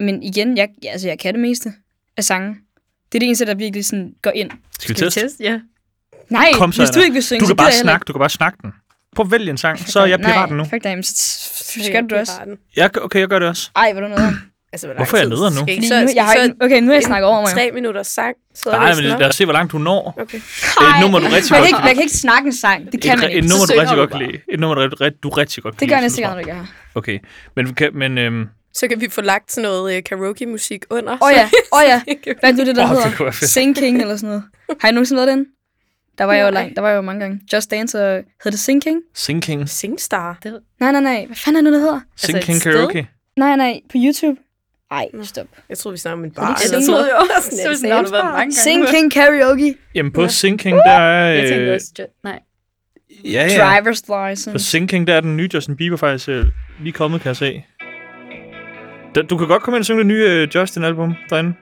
Men igen, jeg, ja, altså, jeg kan det meste af sangen. Det er det eneste, der virkelig sådan går ind.
Skal vi teste?
Ja.
Nej,
Kom så,
hvis du
Anna.
ikke vil synge,
Du kan
så
bare
gider jeg
snakke, du kan bare snakke den. Prøv at vælge en sang,
heller ikke.
så er jeg piraten nu.
Nej, fuck dig, men så så skal
Øh,
du det også.
Piraten.
Jeg, gør- okay, jeg gør det også.
Ej, hvor er du noget.
Altså, hvor lang
Hvorfor er jeg
tid?
nederen nu?
Skal I
Fordi
så,
nu, jeg har
så
ikke, okay, nu har jeg snakket over mig.
tre minutter sang, så er
Nej,
det
men
nok.
lad os se, hvor langt du når.
Okay.
Det er et nummer, du rigtig
man
godt
kan, ikke,
kan
man
lide.
kan ikke snakke en sang. Det kan man
Et, et
ikke.
nummer, du
synger
rigtig
du
godt
bare.
kan lide. Et nummer, du rigtig- du rigtig godt kan
Det gør jeg
lide,
næste gang,
synes
du ikke er her.
jeg. Okay, men, kan- men øhm,
Så kan vi få lagt sådan noget øh, karaoke-musik under.
Åh ja, åh ja. Hvad er det, det der
Åh, det kunne
hedder?
være fedt.
Sinking eller sådan noget. Har I nogensinde lavet den? Der var jeg jo
Nej.
langt. Der var jeg jo mange gange. Just Dance og... Hed det Sinking?
Sinking,
[LAUGHS] Singstar.
Nej, nej, nej. Hvad fanden er det nu, det hedder?
Sinking
et sted?
Karaoke.
Nej, nej. På YouTube? Ej, stop.
Jeg troede, vi snakkede om en bar.
ikke
eller
Sing-
sådan noget.
jeg også. Så sådan, har du været mange gange.
Sinking Karaoke.
Jamen på Sinking, der er...
Jeg tænkte
Øh,
også, jo- nej.
ja, ja.
Driver's
På
License.
Sinking, der er den nye Justin Bieber faktisk øh, lige kommet, kan jeg se. Da- Du kan godt komme ind og synge det nye øh, Justin-album derinde.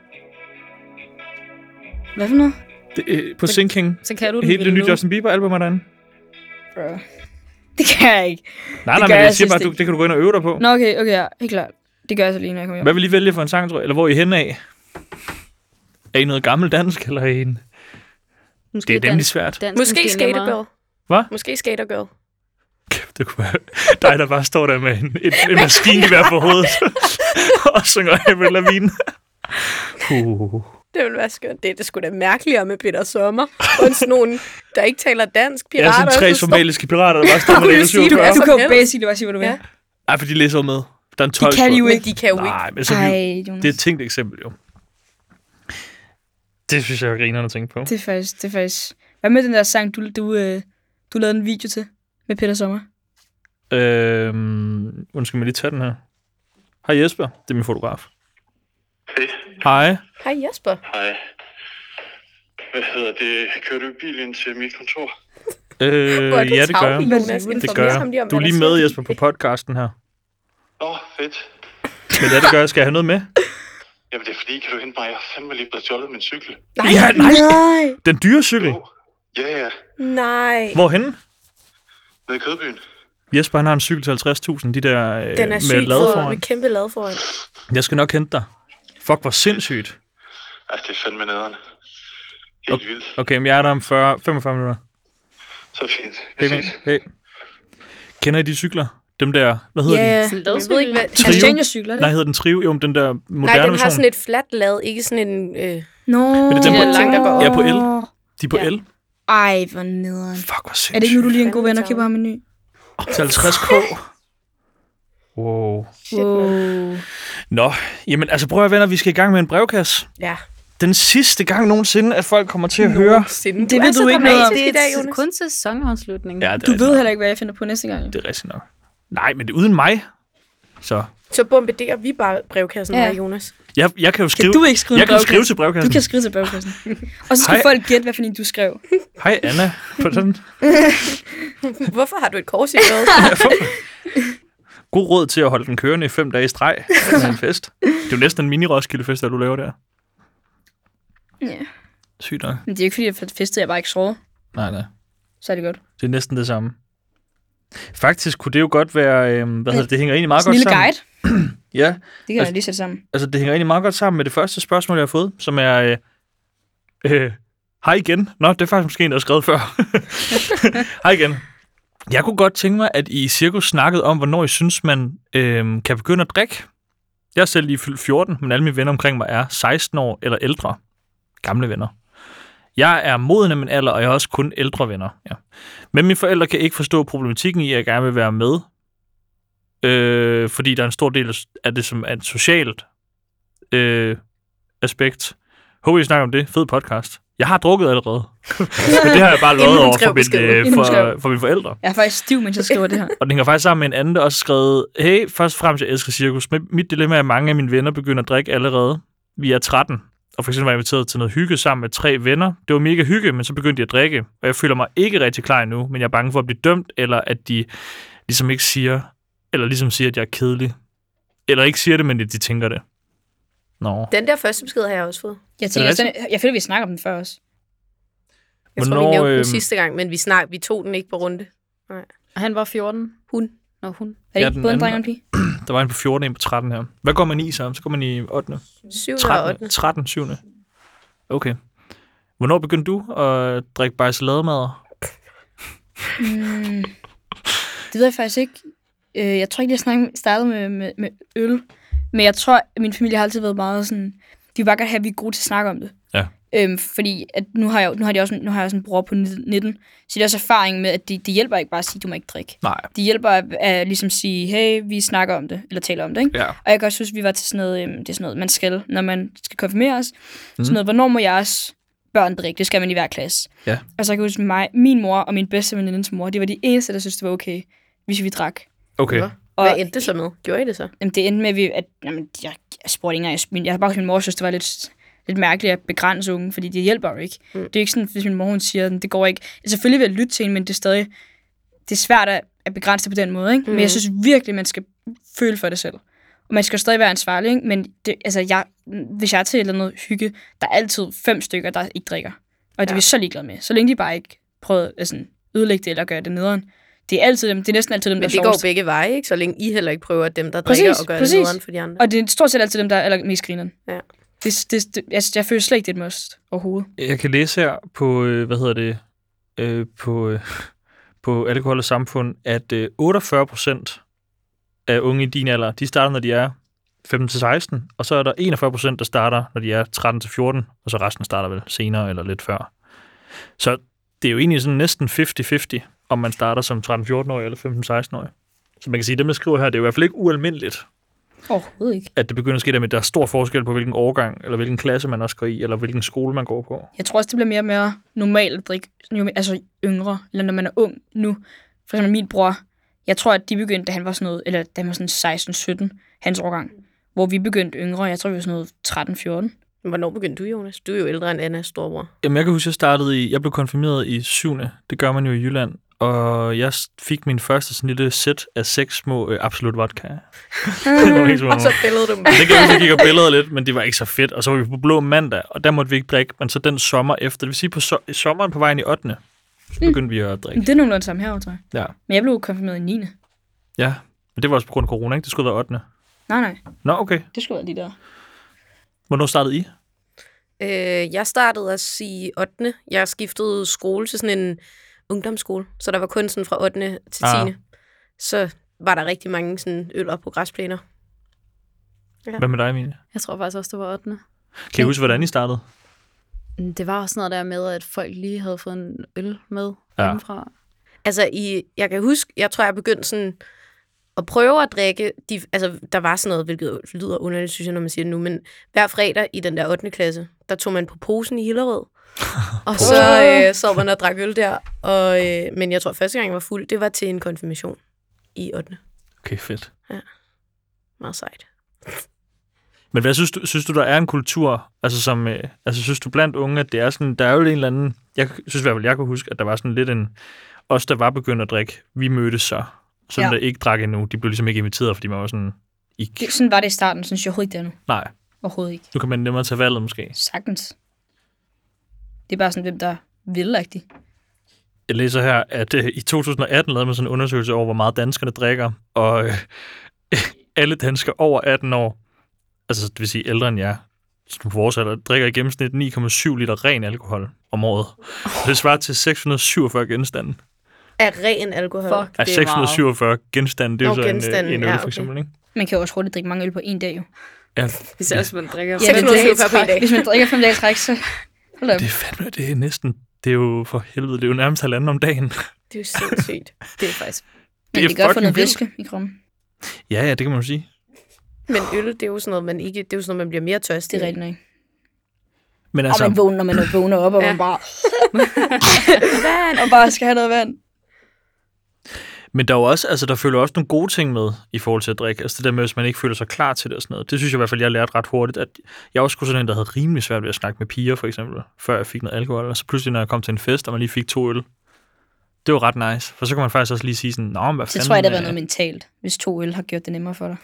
Hvad for noget?
Det, øh, på Sinking.
Så kan du den
Helt det
vel
nye
nu.
Justin Bieber-album er derinde.
Bro. Det kan jeg ikke.
Nej, nej,
gør
men jeg siger
jeg synes
bare, du,
ikke.
det kan du gå ind og øve dig på.
Nå, okay, okay, ja. Helt klart. Det gør jeg så lige, når jeg kommer hjem.
Hvad vil I vælge for en sang, tror jeg? Eller hvor er I hen af? Er I noget gammel dansk, eller er I en...
Måske
Det er nemlig
dans-
svært.
dans
Måske
er nemmere.
Skatergirl.
Hvad?
Måske Skatergirl.
Kæft, det kunne være dig, der bare står der med en, en, en maskine i hver på
[LAUGHS]
hovedet, og synger Avril Lavigne. Uh.
Det ville være skønt. Det, er det skulle da mærkeligere med Peter Sommer. Og sådan nogen, der ikke taler dansk.
Jeg
Pirater.
er sådan tre
der står-
somaliske pirater, der bare
[LAUGHS]
står med
Vil
det
du sige,
Du,
du er
du
så
kan jo
heldig.
basically bare sige, hvad du vil.
Ja.
Nej, for de læser jo med. Der er en 12
kan Altså- de jo
Men de kan jo ikke.
Nej, men så er vi,
Ej, Jonas.
Altså, det er et tænkt eksempel jo. Det synes jeg er grinerne at tænke på.
Det er faktisk, det er faktisk... Hvad med den der sang, du, du, øh, du lavede en video til med Peter Sommer?
Øhm, undskyld mig lige tage den her. Hej Jesper, det er min fotograf.
Hej,
Hej.
Hej Jesper.
Øh,
hej. Hvad hedder det? Kører du i bil ind til mit kontor?
Øh,
Hvor er du
ja, det gør
tavlig,
jeg.
Jonas.
Det
Informer
gør
ham lige om,
jeg. Du er
hvad der
lige med,
sker.
Jesper, på podcasten her.
Åh, oh, fedt.
Men ja, det gør jeg. Skal jeg have noget
[LAUGHS]
med?
Jamen det er fordi, kan du hente mig? Jeg har fandme lige blevet stjålet min cykel.
Nej.
Ja, nej.
Nej.
Den dyre cykel.
Jo. Ja, ja.
Nej.
Hvorhenne?
Nede i Kødbyen.
Jesper, han har en cykel til 50.000, de der øh,
Den er syg
med lade
for,
foran.
med kæmpe lad foran.
Jeg skal nok hente dig. Fuck, hvor sindssygt.
Ej, Altså, det er fandme nederen. Helt
Okay.
okay. vildt.
Okay, men jeg er der om 40, 45 minutter.
Så fint.
Hey,
Jeg ses.
hey. Kender I de cykler? Dem der, hvad hedder yeah.
Ja,
Sådan en
Jeg ved ikke, hvad...
Trio?
han stjæler cykler,
de?
det?
Nej, hedder den Trio? Jo, men den der
Nej,
moderne
den har
version.
sådan et fladt lad, ikke sådan en... Øh,
Nå.
Men det er
den på- langt, der går
Ja, på el. De er på
Ja.
el.
Ej, hvor nederen.
Fuck, hvor sindssygt.
Er det ikke nu, du lige er en god ven og
Fandme
køber ham en ny?
Til 50k. Wow.
shit, wow.
Nå, jamen altså prøv at høre, venner, vi skal i gang med en brevkasse.
Ja.
Den sidste gang nogensinde, at folk kommer til at høre.
Det ved du ikke noget om.
Det er i dag,
Det er
Jonas.
kun sæsonafslutning.
Ja, det
Du
er
ved
rigtigt
heller ikke, hvad jeg finder på næste gang.
nok. Det er rigtigt nok. Nej, men det er uden mig. Så
Så bombarderer vi bare brevkassen
Ja.
ja. her, Jonas. [LAUGHS]
jeg, jeg kan jo skrive,
Kan du ikke skrive
jeg
en
kan jo skrive til
brevkasse?
brevkassen.
Du kan skrive til brevkassen. Og så skal
Hej.
folk gætte, hvad for en du skrev.
Hej Anna.
[LAUGHS]
Hvordan?
Hvorfor har du et kors i noget?
God råd til at holde den kørende i fem dage i streg med en fest. Det er jo næsten en mini-Roskilde-fest, der du laver der.
Ja.
Sygt nok.
Men det er ikke, fordi jeg festede, jeg bare ikke sovet.
Nej, nej.
Så er det godt.
Det er næsten det samme. Faktisk kunne det jo godt være, øh, hvad hedder det, det hænger egentlig meget
Så en
godt
lille
sammen.
guide.
Ja,
Det kan jeg
Altså-
lige sætte sammen.
altså det hænger egentlig meget godt sammen med det første spørgsmål, jeg har fået, som er, øh, øh, hej igen. Nå, det er faktisk måske en, der har skrevet før. [LAUGHS] hej igen. Jeg kunne godt tænke mig, at I i cirkus snakkede om, hvornår I synes, man øh, kan begynde at drikke. Jeg er selv lige fyldt 14, men alle mine venner omkring mig er 16 år eller ældre. Gamle venner. Jeg er moden af min alder, og jeg har også kun ældre venner. Ja. Men mine forældre kan ikke forstå problematikken i, at jeg gerne vil være med. Øh, fordi der er en stor del af det, som er et socialt øh, aspekt. Håber, I snakker om det. Fed podcast. Jeg har drukket allerede. Men det har jeg bare
Inden
lovet
hun
over for,
skrev
min,
beskeden.
øh,
Inden
for,
hun skrev.
for mine forældre.
Jeg er faktisk stiv, mens jeg skriver det her.
Og den hænger faktisk sammen med en anden, der også har skrevet, hey, først og fremmest, jeg elsker cirkus. Men mit dilemma er, at mange af mine venner begynder at drikke allerede. Vi er 13, og for eksempel var jeg inviteret til noget hygge sammen med tre venner. Det var mega hygge, men så begyndte de at drikke, og jeg føler mig ikke rigtig klar endnu, men jeg er bange for at blive dømt, eller at de ligesom ikke siger, eller ligesom siger, at jeg er kedelig. Eller ikke siger det, men at de tænker det. Nå.
[LAUGHS] Den der første besked har jeg også fået.
Jeg, tænker,
rigtigt?
jeg, jeg føler, vi snakker om den før også.
Jeg tror,
Hvornår,
vi nævnte den
øhm,
sidste gang, men vi, snak, vi tog den ikke på runde.
Og han var 14.
Hun.
Nå, hun.
Er det
Ja,
ikke
den
både en
anden
dreng og en pige?
Der var en på 14, en på 13 her. Hvad går man i så? Så går man i 8.
7.
13.
13.
13. 7. Okay. Hvornår begyndte du at drikke bajsalademader?
Mm, det ved jeg faktisk ikke. Øh, jeg tror ikke, jeg snakkede, startede med, med, med øl. Men jeg tror, at min familie har altid været meget sådan... De vil bare godt have, at vi er gode til at snakke om det.
Ja.
Øhm, fordi at nu, har jeg, jo- nu, har de også, en- nu har jeg også en bror på 19. Så det er også erfaring med, at det de hjælper ikke bare at sige, du må ikke drikke.
Nej.
Det hjælper at, at ligesom sige, hey, vi snakker om det, eller taler om det, ikke?
Ja.
Og jeg kan også huske, vi var til sådan noget, øhm, det er sådan noget, man skal, når man skal konfirmeres. Mm. Sådan noget, hvornår må jeres børn drikke? Det skal man i hver klasse.
Ja.
Og så kan jeg huske, mig, min mor og min bedste venindes mor, det var de eneste, der syntes, det var okay, hvis vi drak.
Okay.
Nå.
Og
Hvad endte det så med? Gjorde I det så?
jamen, det endte med, at, vi, at jamen, jeg, jeg spurgte ikke engang, jeg, min, jeg har bare hørt, min mor synes, det var lidt, lidt mærkeligt at begrænse unge, fordi det hjælper jo ikke. Mm. Det er jo ikke sådan, hvis min mor hun siger, "Den, det går ikke. Selvfølgelig vil jeg lytte til hende, men det er stadig det er svært at, at begrænse det på den måde. Ikke? Mm. Men jeg synes virkelig, man skal føle for det selv. Og man skal jo stadig være ansvarlig, ikke? men det, altså, jeg, hvis jeg er til et eller andet hygge, der er altid fem stykker, der ikke drikker. Og det er vi så ligeglade med. Så længe de bare ikke prøver at sådan, ødelægge det eller gøre det nederen. Det er, altid dem, det er næsten altid dem, der
Men
er
det går
sjovest.
begge veje, ikke? Så længe I heller ikke prøver, at dem, der
Præcis,
drikker og gør
præcis.
det nederen for de andre.
Og det er stort set altid dem, der er aller- mest grineren.
Ja.
Det, det, det, altså, jeg føler slet ikke, det er et must overhovedet.
Jeg kan læse her på, øh, hvad hedder det, øh, på, øh, på Alkohol og Samfund, at øh, 48 procent af unge i din alder, de starter, når de er 15-16, og så er der 41 procent, der starter, når de er 13-14, og så resten starter vel senere eller lidt før. Så det er jo egentlig sådan næsten 50-50, om man starter som 13-14-årig eller 15-16-årig. Så man kan sige, at dem, der skriver her, det er jo i hvert fald ikke ualmindeligt,
Overhovedet ikke.
at det begynder at ske der med, at der er stor forskel på, hvilken årgang, eller hvilken klasse man også går i, eller hvilken skole man går på.
Jeg tror også, det bliver mere og mere normalt at drikke, jo, altså yngre, eller når man er ung nu. For eksempel min bror, jeg tror, at de begyndte, da han var sådan noget, eller da han var sådan 16-17, hans årgang, hvor vi begyndte yngre, jeg tror, vi var sådan noget 13-14.
Men Hvornår begyndte du, Jonas? Du er jo ældre end Annas storbror.
Jamen, jeg kan huske, jeg startede i, jeg blev konfirmeret i 7. Det gør man jo i Jylland. Og jeg s- fik min første sådan lille sæt af seks små øh, absolut vodka. [LAUGHS] det var ikke så
Mm. Og så
meget.
billede du mig.
Det kan jeg huske, jeg gik og billede lidt, men det var ikke så fedt. Og så var vi på Blå Mandag, og der måtte vi ikke drikke. Men så den sommer efter, det vil sige på so- i sommeren på vejen i 8. Så
Mm.
begyndte vi at
Men
drikke.
det er nogenlunde samme her, tror jeg.
Ja.
Men jeg blev konfirmeret i 9.
ja. Men det var også på grund af corona, ikke? Det skulle være 8.
Nej, nej,
Nå, okay.
det skulle være lige der.
Hvornår startede I?
Øh, jeg startede også i 8. Jeg skiftede skole til sådan en ungdomsskole, så der var kun sådan fra 8. til 10.
Ah.
Ah. Så var der rigtig mange sådan øl op på græsplæner.
Hvad med dig, Emilie?
Jeg tror faktisk også, det var 8.
Kan I huske, hvordan I startede?
Det var også sådan noget der med, at folk lige havde fået en øl med
Ja.
ja. hjemmefra.
Altså, i, jeg kan huske, jeg tror, jeg begyndte sådan at prøve at drikke. De, altså, der var sådan noget, hvilket lyder underligt, synes jeg, når man siger det nu, men hver fredag i den der 8. klasse, der tog man på posen i Hillerød. og så øh, sad man og drak øl der. Og, øh, men jeg tror, første gang jeg var fuld, det var til en konfirmation i 8.
Okay, fedt.
Meget sejt.
Men hvad synes du, synes du, der er en kultur, altså, som, øh, altså synes du blandt unge, at det er sådan, der er jo en eller anden, jeg synes i hvert fald, jeg kunne huske, at der var sådan lidt en, os der var begyndt at drikke, vi mødtes så, sådan ja.
Ja.
der ikke drak endnu, de blev ligesom ikke inviteret, fordi man var sådan, ikke,
Det, sådan var det i starten, synes jeg overhovedet ikke, det er nu.
nej,
Overhovedet ikke.
nu kan man nemmere tage valget måske.
Sagtens. Det er bare sådan, hvem der vil rigtig.
Jeg læser her, at øh, i 2018 lavede man sådan en undersøgelse over, hvor meget danskerne drikker, og øh, [LAUGHS] alle danskere over 18 år, altså det vil sige ældre end jer, som på vores alder, drikker i gennemsnit 9,7 liter ren alkohol om året. Det svarer til 647 genstande.
Af ren alkohol.
Fuck,
Ja,
det er meget.
647 genstande, det er jo
Nå,
så en,
genstande,
øh, en øl,
ja,
for
okay.
eksempel, ikke? Altså,
Man kan jo også hurtigt drikke mange øl på en dag, jo.
Ja,
Især hvis man drikker.
Ja,
Ja,
men
men
det er
det er på en dag.
Hvis man drikker fem dage i træk, så Hold da op.
Det er fandme, det er næsten, det er jo for helvede, det er jo nærmest halvanden om dagen.
Det er jo [LAUGHS] sindssygt. det er faktisk.
det
Men
er
det gør for
fucking
noget
vildt.
væske i kroppen.
Ja, ja, det kan man jo sige.
Men øl, det er jo sådan noget, man, ikke, det er jo sådan noget, man bliver mere
Det
tørstig.
er rigtigt nok.
Men
Og
altså,
man vågner, man vågner op, og
Ja.
man bare... vand! Og bare skal have noget vand.
men der er jo også, altså, der følger også nogle gode ting med i forhold til at drikke. Altså det der med, hvis man ikke føler sig klar til det og sådan noget. Det synes jeg i hvert fald, jeg lærte ret hurtigt, at jeg også skulle sådan en, der havde rimelig svært ved at snakke med piger, for eksempel, før jeg fik noget alkohol. Og så pludselig, når jeg kom til en fest, og man lige fik to øl, det var ret nice. For så kan man faktisk også lige sige sådan, Nå, men hvad
Så
fanden...
tror jeg, det har været
øh,
noget mentalt, hvis to øl har gjort det nemmere for dig.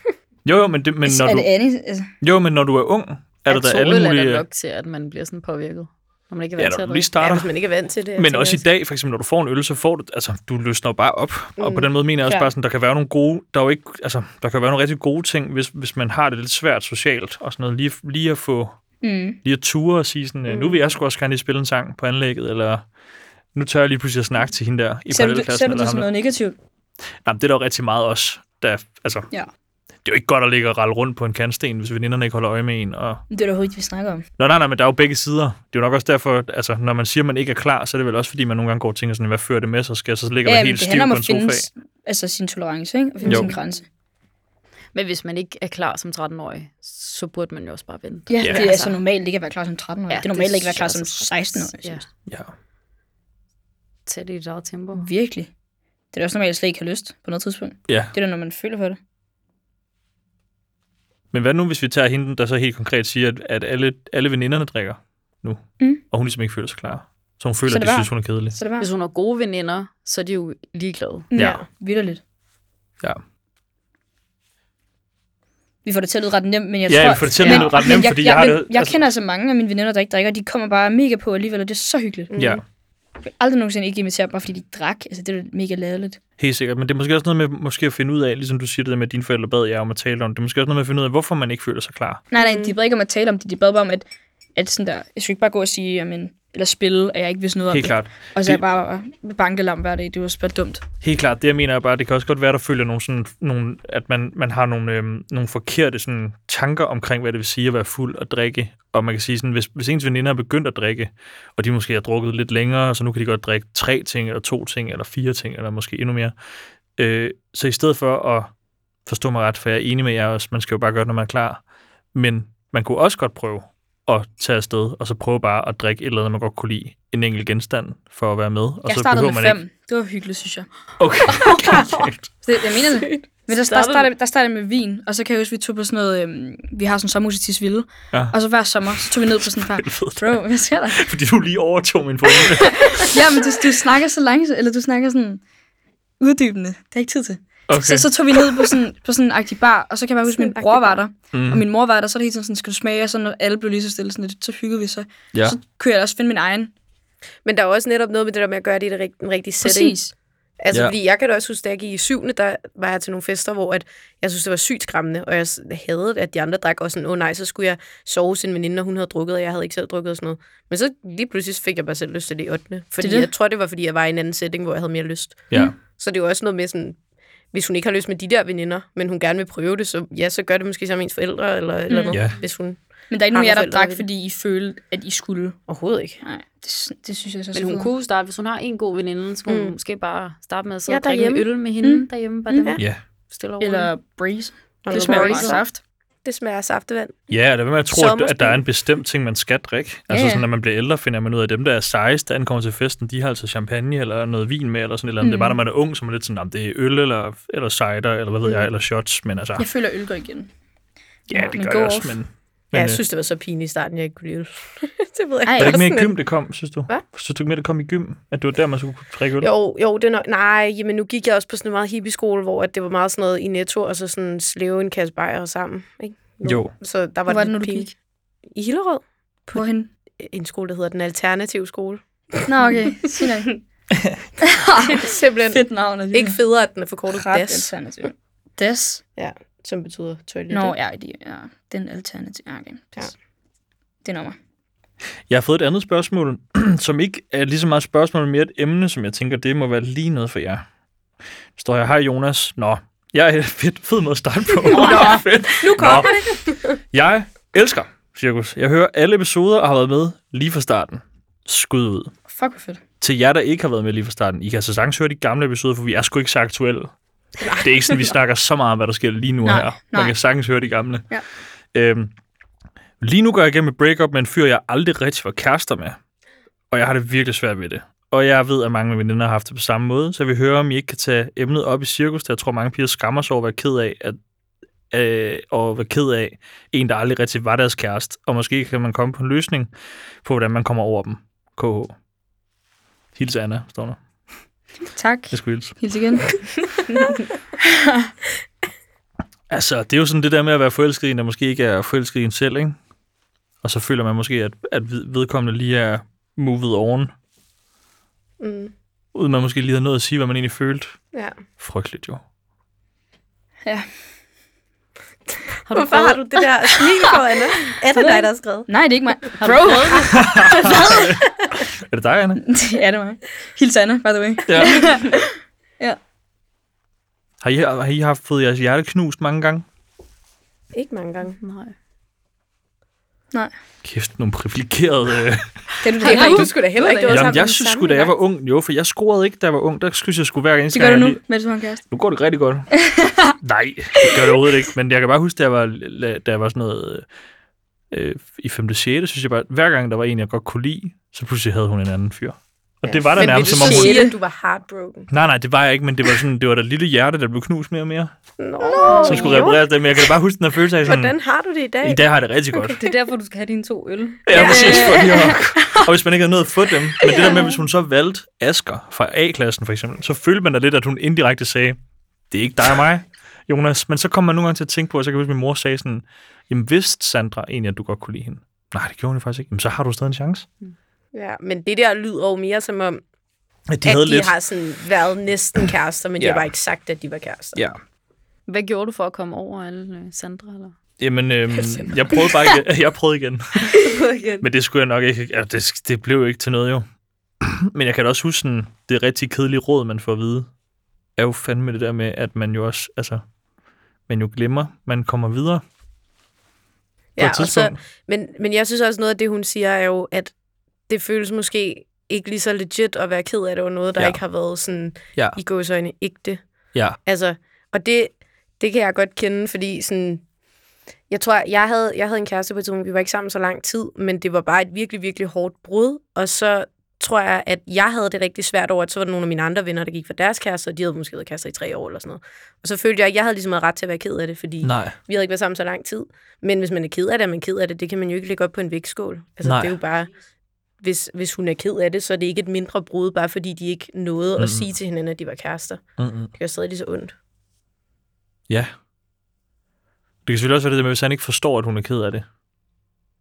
Jo, jo, men, det, men,
altså,
når
er
du,
det andet? Altså,
jo, men når du er ung, er der da alle
Er der
mulige...
nok til, at man bliver sådan påvirket, når man ikke er
Ja,
vant til
når
at
du lige
drikke.
Ja,
starter.
hvis man ikke er vant til det. jeg
Men
tænker
også i
også-
dag, for eksempel, når du får en øl, så får du, altså, du løsner bare op. Mm. Og på den måde mener jeg også
Klart.
bare sådan, der kan være nogle gode, der er jo ikke, altså, der kan være nogle rigtig gode ting, hvis, hvis man har det lidt svært socialt og sådan noget. Lige, lige at få,
mm.
lige at ture og sige sådan, mm. nu vil jeg sgu også gerne lige spille en sang på anlægget, eller nu tør jeg lige pludselig at snakke til hende der i
Ser du, det- ser
parallelklassen.
du
Eller
det
ham
som
der.
noget negativt?
Nej, men det er der jo rigtig meget også, der, altså,
Ja.
det er jo ikke godt at ligge og ralle rundt på en kantsten, hvis veninderne ikke holder øje med en, og
Men Det er da overhovedet ikke, vi snakker om.
Nå, nej, nej, men der er jo begge sider. Det er jo nok også derfor, altså, når man siger, at man ikke er klar, så er det vel også, fordi man nogle gange går og tænker sådan, hvad fører det med sig? Skal jeg så ligge ja,
Ja, men
helt
det
stiv
handler om
på
at
en
finde
sofa?
s- altså, sin tolerance, ikke? Og finde
Jo.
sin grænse.
Men hvis man ikke er klar som 13-årig, så burde man jo også bare vente.
Ja, det er altså
altså
normalt ikke at være klar som 13-årig.
Ja,
det er normalt
det
ikke at være klar som
synes jeg altså-
16-årig.
Ja.
Ja.
Ja.
Tag det i dit eget tempo.
Virkelig. Det er da også normalt, at jeg slet ikke har lyst på noget tidspunkt.
ja.
Det er da, når man føler for det.
Men hvad nu, hvis vi tager hende, der så helt konkret siger, at, at alle, alle veninderne drikker nu,
Mm.
og hun ligesom ikke føler sig klar? Så hun føler,
Så
så
det
at de
var-
synes, hun er kedelig.
Så er det var.
Hvis hun har gode veninder, så er de jo ligeglade.
Ja.
Ja, vidderligt.
Ja.
Vi får det til at lyde ret nemt, men jeg
Ja,
tror...
vi får det til at lyde
men-
ret nemt,
men
fordi jeg har
men
det-
Jeg
altså-
kender altså mange af mine veninder, der ikke drikker. De kommer bare mega på alligevel, og det er så hyggeligt.
Ja,
Jeg vil aldrig nogensinde ikke invitere bare fordi de drak. Altså, det er da mega ladeligt.
helt sikkert. Men det er måske også noget med måske at finde ud af, ligesom du siger det der med, at dine forældre bad jer om at tale om det. Det er måske også noget med at finde ud af, hvorfor man ikke føler sig klar.
Nej, nej, de bad ikke om at tale om det. De bad bare om, at, at sådan der, jeg skal ikke bare gå og sige, jamen, eller spille, at jeg ikke vidste noget
Helt
om
klart.
det. Og så er jeg
Det-
bare bankelam hver dag. Det var også bare dumt.
Helt klart, det jeg mener er bare, at det kan også godt være, der følger nogle sådan, nogle, at man, man har nogle, øhm, nogle forkerte sådan, tanker omkring, hvad det vil sige at være fuld og drikke. Og man kan sige, sådan, hvis, hvis ens veninder er begyndt at drikke, og de måske har drukket lidt længere, så nu kan de godt drikke tre ting, eller to ting, eller fire ting, eller måske endnu mere. Øh, så i stedet for at forstå mig ret, for jeg er enig med jer også, man skal jo bare gøre det, når man er klar. Men man kunne også godt prøve at tage afsted, og så prøve bare at drikke et eller andet, man godt kunne lide. En enkelt genstand for at være med. Og
jeg
så
startede
behøver
med
man
fem.
Ikke.
Det var hyggeligt, synes jeg.
[LAUGHS]
Okay, [LAUGHS] okay.
Det, jeg mener det. Men der, der,
Startede
startede, der startede jeg med vin, og så kan jeg huske, vi tog på sådan noget, øhm, vi har sådan en sommerhus i Tisvilde,
Ja.
og så hver sommer, så tog vi ned på
[LAUGHS]
sådan en far. Bro, hvad sker der?
Fordi du lige overtog min pointe.
Jamen, du, du snakker så langsomt, eller du snakker sådan uddybende. Det er ikke tid til.
Okay.
Så, så tog vi ned på sådan, på sådan en agtig bar, og så kan jeg bare huske, at min
Sådan en
bror
agtig
var der,
Mhm.
og min mor var der, så er det hele tiden sådan, skal du smage, og så når alle blev lige så stille, sådan lidt, så hyggede vi så.
Ja.
Så kunne jeg også finde min egen.
Men der er også netop noget med det der med at gøre det i det rigt- den rigtige setting.
Præcis.
Altså,
Ja.
ja. fordi jeg kan da også huske, da jeg gik i syvende, der var jeg til nogle fester, hvor at jeg synes, det var sygt skræmmende, og jeg s- hadede, at de andre drak også sådan, åh oh, nej, så skulle jeg sove hos en veninde, og hun havde drukket, og jeg havde ikke selv drukket og sådan noget. Men så lige pludselig fik jeg bare selv lyst til det i 8. Fordi
Det er det.
jeg tror, det var, fordi jeg var i en anden setting, hvor jeg havde mere lyst.
Ja.
Så det er jo også noget med sådan, hvis hun ikke har lyst med de der veninder, men hun gerne vil prøve det, så ja, så gør det måske sammen med ens forældre, eller et eller
Mm.
andet,
Ja.
hvis hun
Men der er ikke nogen af
Andre
jer, der
forældre
drak,
ved det.
fordi I følte, at I skulle.
overhovedet ikke.
Nej, det, det synes jeg så er så
Men hun
fedt.
kunne jo starte, hvis hun har en god veninde, så kunne mm. hun måske bare starte med at sidde
Ja,
ja, og drikke en
derhjemme.
øl med hende mm. derhjemme. Bare
Mm.
mm. dem.
Ja.
Stille og
Eller breeze.
Eller
Det smager bare
breeze.
saft.
Det smager af saftevand.
Ja, eller hvad med at tro, at,
Sommerspil.
at der er en bestemt ting, man skal drikke. Altså
Ja, ja.
sådan, når man bliver ældre, finder man ud af, at dem, der er sejest, der ankommer til festen, de har altså champagne eller noget vin med, eller sådan et eller andet. Mm. Det er bare, når man er ung, så er man lidt sådan, "Nå, men det er øl eller, eller cider, eller
Mm.
hvad ved jeg, eller shots. Men altså,
Jeg føler, at øl går igen.
ja, det
men
gør
go
jeg også,
off.
men...
Ja,
men øh,
jeg synes, det var så pinligt i starten, jeg ikke kunne lide det. [LAUGHS] det ved jeg
Ej,
var det ikke mere
også
i
sådan
gym, det kom, synes du?
Hvad?
Synes du ikke mere, det kom i gym? At det var der, man skulle kunne drikke øl?
Jo, jo, det er nok, nej, jamen nu gik jeg også på sådan en meget hippie skole, hvor at det var meget sådan noget i netto, og så sådan slæve en kasse bajer sammen, ikke?
Jo.
Så der var
Hvor var det,
lidt
når du
pinligt.
gik?
I Hillerød,
Hvorhen?
en skole, der hedder den alternative skole.
Nå, okay. Sig nok.
Simpelthen
Fedt navn. alligevel.
ikke federe, at den er forkortet
ret
DAS,
alternativ. Des?
som betyder toilet.
Nå,
ikke?
ja, det ja, den alternativ. Ja, okay. Des.
Ja.
Det er nummer.
Jeg har fået et andet spørgsmål, [CLEARS THROAT] som ikke er lige så meget et spørgsmål, men mere et emne, som jeg tænker, det må være lige noget for jer. Der Står jeg, hej Jonas. Nå, [LAUGHS] jeg er fedt, fed måde at starte på. Nå, fedt.
Nu kommer
Nå. [LAUGHS] Jeg elsker cirkus. Jeg hører alle episoder og har været med lige fra starten. Skud ud.
Fuck, hvor fedt.
Til jer, der ikke har været med lige fra starten, I kan så sagtens høre de gamle episoder, for vi er sgu ikke så aktuelle. Det er ikke sådan, vi snakker så meget om, hvad der sker lige nu og
Nej,
her. Man
nej.
kan sagtens høre de gamle.
Ja.
Øhm, lige nu går jeg igennem et breakup med en fyr, jeg aldrig rigtig var kærester med. Og jeg har det virkelig svært ved det. Og jeg ved, at mange af mine veninder har haft det på samme måde, så vi hører, om I ikke kan tage emnet op i cirkus, der jeg tror, mange piger skammer sig over at være ked af, at øh, og være ked af en, der aldrig rigtig var deres kæreste. Og måske kan man komme på en løsning på, hvordan man kommer over dem. KH. Hils Anna, står der.
Tak.
Jeg skulle hilse.
Helt igen.
Altså, det er jo sådan det der med at være forelsket i en, der måske ikke er forelsket i en selv, ikke? Og så føler man måske, at, at ved- vedkommende lige er movet oven,
Mm,
uden man måske lige har nået at sige, hvad man egentlig følte.
ja.
Frygteligt jo.
Har du
Hvorfor har du det der smil på, Anna? [LAUGHS] Er det dig, der har skrevet?
Nej, det er ikke mig. [LAUGHS] Bro!
Er det dig, Anna?
ja, det var mig. Hils Anna, by the way.
Ja.
[LAUGHS] Ja.
Har I, har I haft fået jeres hjerte knust mange gange?
Ikke mange gange.
Nej.
Kæft, nogle privilegerede... Øh.
Det er du
Det
da
har
ikke.
du sgu da heller ikke. Det var
Jamen,
sammen
jeg
den
synes
samme
sgu, da jeg var
gang.
ung, jo, for jeg scorede ikke, da jeg var ung. Der synes jeg sgu hver eneste
Det gør du
gang,
nu,
jeg lige-
mens du har en kæreste.
Nu går det rigtig godt. [LAUGHS] Nej, det gør det overhovedet ikke. Men jeg kan bare huske, da jeg var, da jeg var sådan noget... Øh, i 5. og 6. synes jeg bare, at hver gang der var en, jeg godt kunne lide, så pludselig havde hun en anden fyr. Og ja, det var da
Men vil
nærmest
du
som om
så
hun...
sige, at du var heartbroken?
Nej, nej, det var jeg ikke, men det var sådan, det var da lille hjerte, der blev knust mere og mere,
Nå,
som skulle repareres det. Men jeg kan da bare huske den her følelse af sådan,
Hvordan har du det i dag?
i dag har jeg det rigtig godt.
Det er derfor, du skal have dine to øl.
Ja, præcis. For lige at... Og hvis man ikke havde nået at få dem. Men det der med, hvis hun så valgte Asker fra A-klassen for eksempel, så følte man da lidt, at hun indirekte sagde, det er ikke dig og mig, [LAUGHS] Jonas. Men så kom man nogle gange til at tænke på, og så kan jeg huske, at min mor sagde sådan, jamen vidste Sandra egentlig, at du godt kunne lide hende? Nej, det gjorde hun jo faktisk ikke. Jamen, så har du stadig en chance.
Ja, men det der lyder jo mere som om,
Ja, de
at
havde
de
lidt.
har sådan været næsten kærester, men de
Ja.
har bare ikke sagt, at de var kærester. [LAUGHS]
Ja.
Hvad gjorde du for at komme over alle øh, Sandra? Eller?
Jamen, øhm, jeg prøvede bare ikke. [LAUGHS] Jeg prøvede igen. Men det skulle jeg nok ikke. Altså, det, det blev jo ikke til noget, jo. Men jeg kan da også huske sådan, det rigtig kedelige råd, man får at vide, er jo fandme det der med, at man jo også, altså, man jo glemmer, man kommer videre på ja, et
og så,
tidspunkt. Så...
men, men jeg synes også, noget af det, hun siger, er jo, at det føles måske ikke lige så legit at være ked af det over noget, der
Ja.
ja. ikke har været sådan,
Ja.
ja. i gåsøjne, ægte.
Ja,
Altså, og det, det kan jeg godt kende, fordi sådan, jeg tror, jeg havde, jeg havde en kæreste på et tidspunkt, vi var ikke sammen så lang tid, men det var bare et virkelig, virkelig hårdt brud, og så tror jeg, at jeg havde det rigtig svært over, at så var der nogle af mine andre venner, der gik for deres kæreste, og de havde måske været kærester i tre år eller sådan noget. Og så følte jeg, at jeg havde ligesom havde ret til at være ked af det, fordi Nej.
nej.
vi havde ikke været sammen så lang tid. Men hvis man er ked af det, er man ked af det, det kan man jo ikke lægge op på en vægtskål. Altså,
Nej.
det er jo bare, hvis, hvis hun er ked af det, så er det ikke et mindre brud, bare fordi de ikke nåede mm.
Mm.
at sige til hinanden, at de var kærester.
Mm-mm.
Det gør stadig lige så ondt.
Ja. Det kan selvfølgelig også være det der med, hvis han ikke forstår, at hun er ked af det.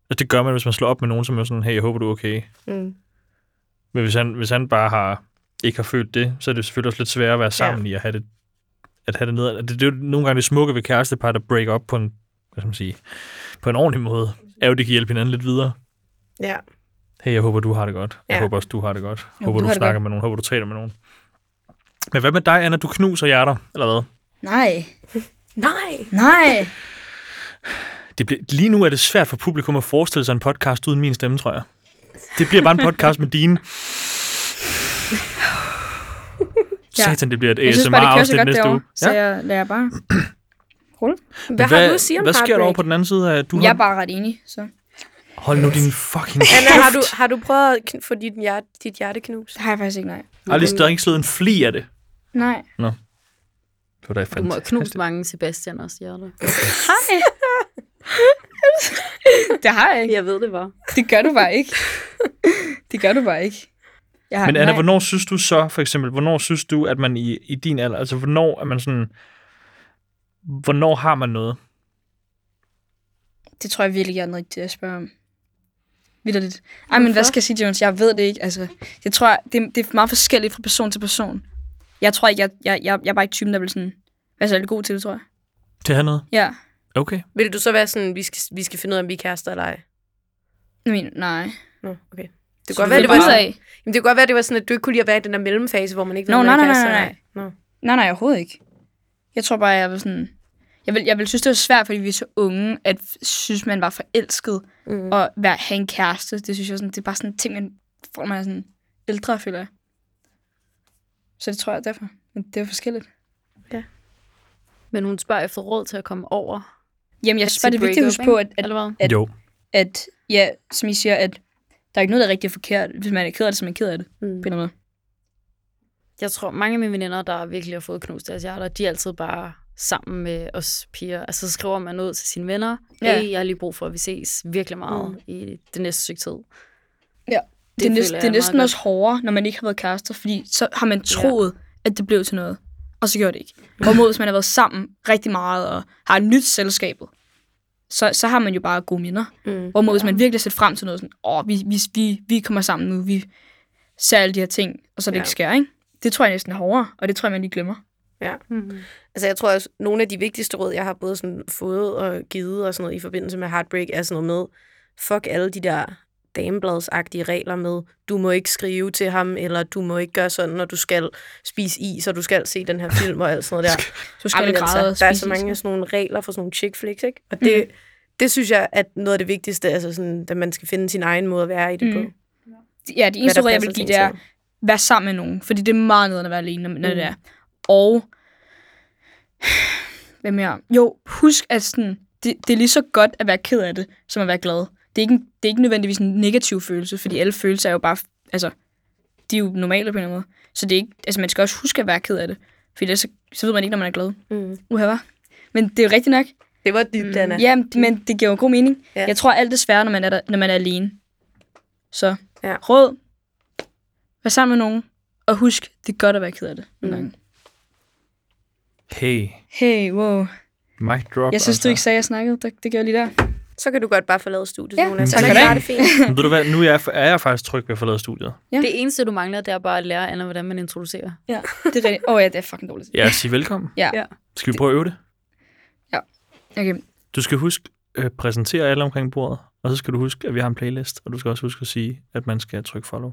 Altså, det gør man, hvis man slår op med nogen, som er sådan, hey, jeg håber, du er okay.
Mm.
Men hvis han, hvis han bare har, ikke har følt det, så er det selvfølgelig også lidt sværere at være sammen ja. i at have det, at have det ned. Det, det er jo nogle gange det smukke ved kærestepar, der break up på en, hvad skal man sige, på en ordentlig måde, er jo, at de kan hjælpe hinanden lidt videre.
Ja.
Hey, jeg håber, du har det godt. Jeg
Ja.
håber også, du har det godt. Jeg
du
håber, du,
har
du
det
snakker med nogen. håber, du taler med nogen. Men hvad med dig, Anna? Du knuser hjerter, eller hvad?
Nej.
Nej!
Nej.
Det bliver, lige nu er det svært for publikum at forestille sig en podcast uden min stemme, tror jeg. Det bliver bare en podcast med dine.
[LAUGHS] Ja.
Satan, det bliver et
Jeg synes bare, det kører så
ASMR-afsnit
godt
næste uge.
derovre, så øh, jeg lader bare...
Hvad, hvad har du at sige om
Hvad sker der over
heartbreak?
på den anden side af, at du
Jeg
har...
er bare ret enig, så...
Hold nu din fucking
Anna, har du,
kæft.
har du prøvet at kn- få dit, hjerte, dit hjerte knust?
Det har jeg faktisk ikke, nej.
Jeg har lige stadig ikke slået en fli af det.
Nej.
Det var da
Du må knuse mange Sebastian også, hjerte.
Hej. [LAUGHS] det har jeg ikke.
Jeg ved det var.
Det gør du bare ikke. Det gør du bare ikke. Jeg har,
Men Anna,
nej.
hvornår synes du så, for eksempel, hvornår synes du, at man i, i din alder, altså hvornår er man sådan, hvornår har man noget?
Det tror jeg virkelig gerne rigtig til at spørge om. Vitterligt. Ej, men hvad skal jeg sige, Jones? Jeg ved det ikke. Altså, jeg tror, det, det er meget forskelligt fra person til person. Jeg tror ikke, jeg, jeg, jeg, jeg er bare ikke typen, der vil sådan være særlig god til det, tror jeg.
Til at have noget?
Ja.
Okay.
Vil du så være sådan, vi skal, vi skal finde ud af, om vi er kærester eller ej?
Jeg mener, nej.
Nå, okay. Det
Så
kunne, godt
du
være,
vil
det, var
ud
sådan,
af?
jamen, det kunne godt være, det var sådan, at du ikke kunne lide at være i den der mellemfase, hvor man ikke ved,
Nå,
om man er
nej, nej,
kærester
nej,
eller ej. Nå.
Nej, nej, overhovedet ikke. Jeg tror bare, jeg vil sådan... Jeg vil, jeg vil synes, det var svært, fordi vi er så unge, at f- synes, man var forelsket
Mm.
og være, have en kæreste. Det synes jeg sådan, det er bare sådan en ting, man får, når man er sådan ældre, føler jeg. Så det tror jeg er derfor. Men det er jo forskelligt.
Men hun spørger efter råd til at komme over.
Jamen, jeg synes bare, Altså, det er vigtigt at huske
breakup,
på, at, at,
Eller hvad?
At-
Jo.
at, ja, som I siger, at der er ikke noget, der er rigtig forkert. Hvis man er ked af det, så er man ked af det. På en
Mm.
eller anden måde.
Jeg tror, mange af mine veninder, der virkelig har fået knust deres hjerter, de er altid bare sammen med os piger. Altså, så skriver man ud til sine venner.
Ja.
Ja. Hey, jeg har lige brug for, at vi ses virkelig meget mm. i det næste stykke tid.
Det, er,
føler
næsten,
jeg
det er næsten
meget
også hårdere, når man ikke har været kærester, fordi så har man troet, ja. at det blev til noget, og så gjorde det ikke. Hvorimod, hvis man har været sammen rigtig meget og har nyt selskabet, så, så har man jo bare gode minder.
Mm.
Hvorimod, hvis man virkelig har set frem til noget, sådan, åh, vi, vi, vi, vi kommer sammen nu, vi ser alle de her ting, og så det
Ja.
ja. ikke sker, ikke? Det tror jeg næsten er hårdere, og det tror jeg, man lige glemmer.
Mm.
Altså, jeg tror også, nogle af de vigtigste råd, jeg har både sådan fået og givet og sådan noget i forbindelse med heartbreak, er sådan noget med, fuck alle de der damebladsagtige regler med, du må ikke skrive til ham, eller du må ikke gøre sådan, når du skal spise is, og du skal se den her film og alt sådan noget der.
Så skal
Jamen
man græde og
altså, der er så
spise is.
mange af sådan nogle regler for sådan nogle chick flicks, ikke? Og det, mm. det synes jeg, at noget af det vigtigste, altså sådan, at man skal finde sin egen måde at være i det
Mm.
mm. på.
Hvad Ja, det
Hvad
eneste
der
råd, jeg
passer
vil give,
til
det er,
en selv.
være sammen med nogen, fordi det er meget noget at være alene, når, når
Mm.
det er. Og, hvad mere? Jo, husk, at sådan, det, det er lige så godt at være ked af det, som at være glad. Det er ikke, en- det er ikke nødvendigvis en negativ følelse, fordi alle følelser er jo bare, altså, de er jo normale på en eller anden måde. Så det er ikke, altså, man skal også huske at være ked af det, fordi ellers så, så ved man ikke, når man er glad.
Mm.
Uha, hva? Men det er jo rigtigt nok.
Det var dybt, Anna.
Mm. Ja, men det giver jo god mening.
Ja.
Ja. Jeg tror, alt er sværere, når man er, der, når man er alene. Så
Ja.
ja. råd. Vær sammen med nogen. Og husk, det er godt at være ked af det. Mm.
Hey,
Hey, wow.
mic drop.
Jeg synes, du ikke sagde, at jeg snakkede. Det, det gjør lige der.
Så kan du godt bare forlade studiet,
Ja,
Jonas.
tak
Man
for det.
klarer det
[LAUGHS]
fint.
Men ved du hvad, nu er jeg, er jeg faktisk tryg ved at forlade studiet.
Ja.
Det eneste, du mangler, det er bare at lære Anna, hvordan man introducerer.
Ja. Det er rigtigt. Åh oh, ja, det er fucking dårligt.
Ja, sig velkommen.
Ja.
Ja.
Skal vi prøve at øve det?
Okay.
Du skal huske øh, præsentere alle omkring bordet, og så skal du huske, at vi har en playlist, og du skal også huske at sige, at man skal trykke follow.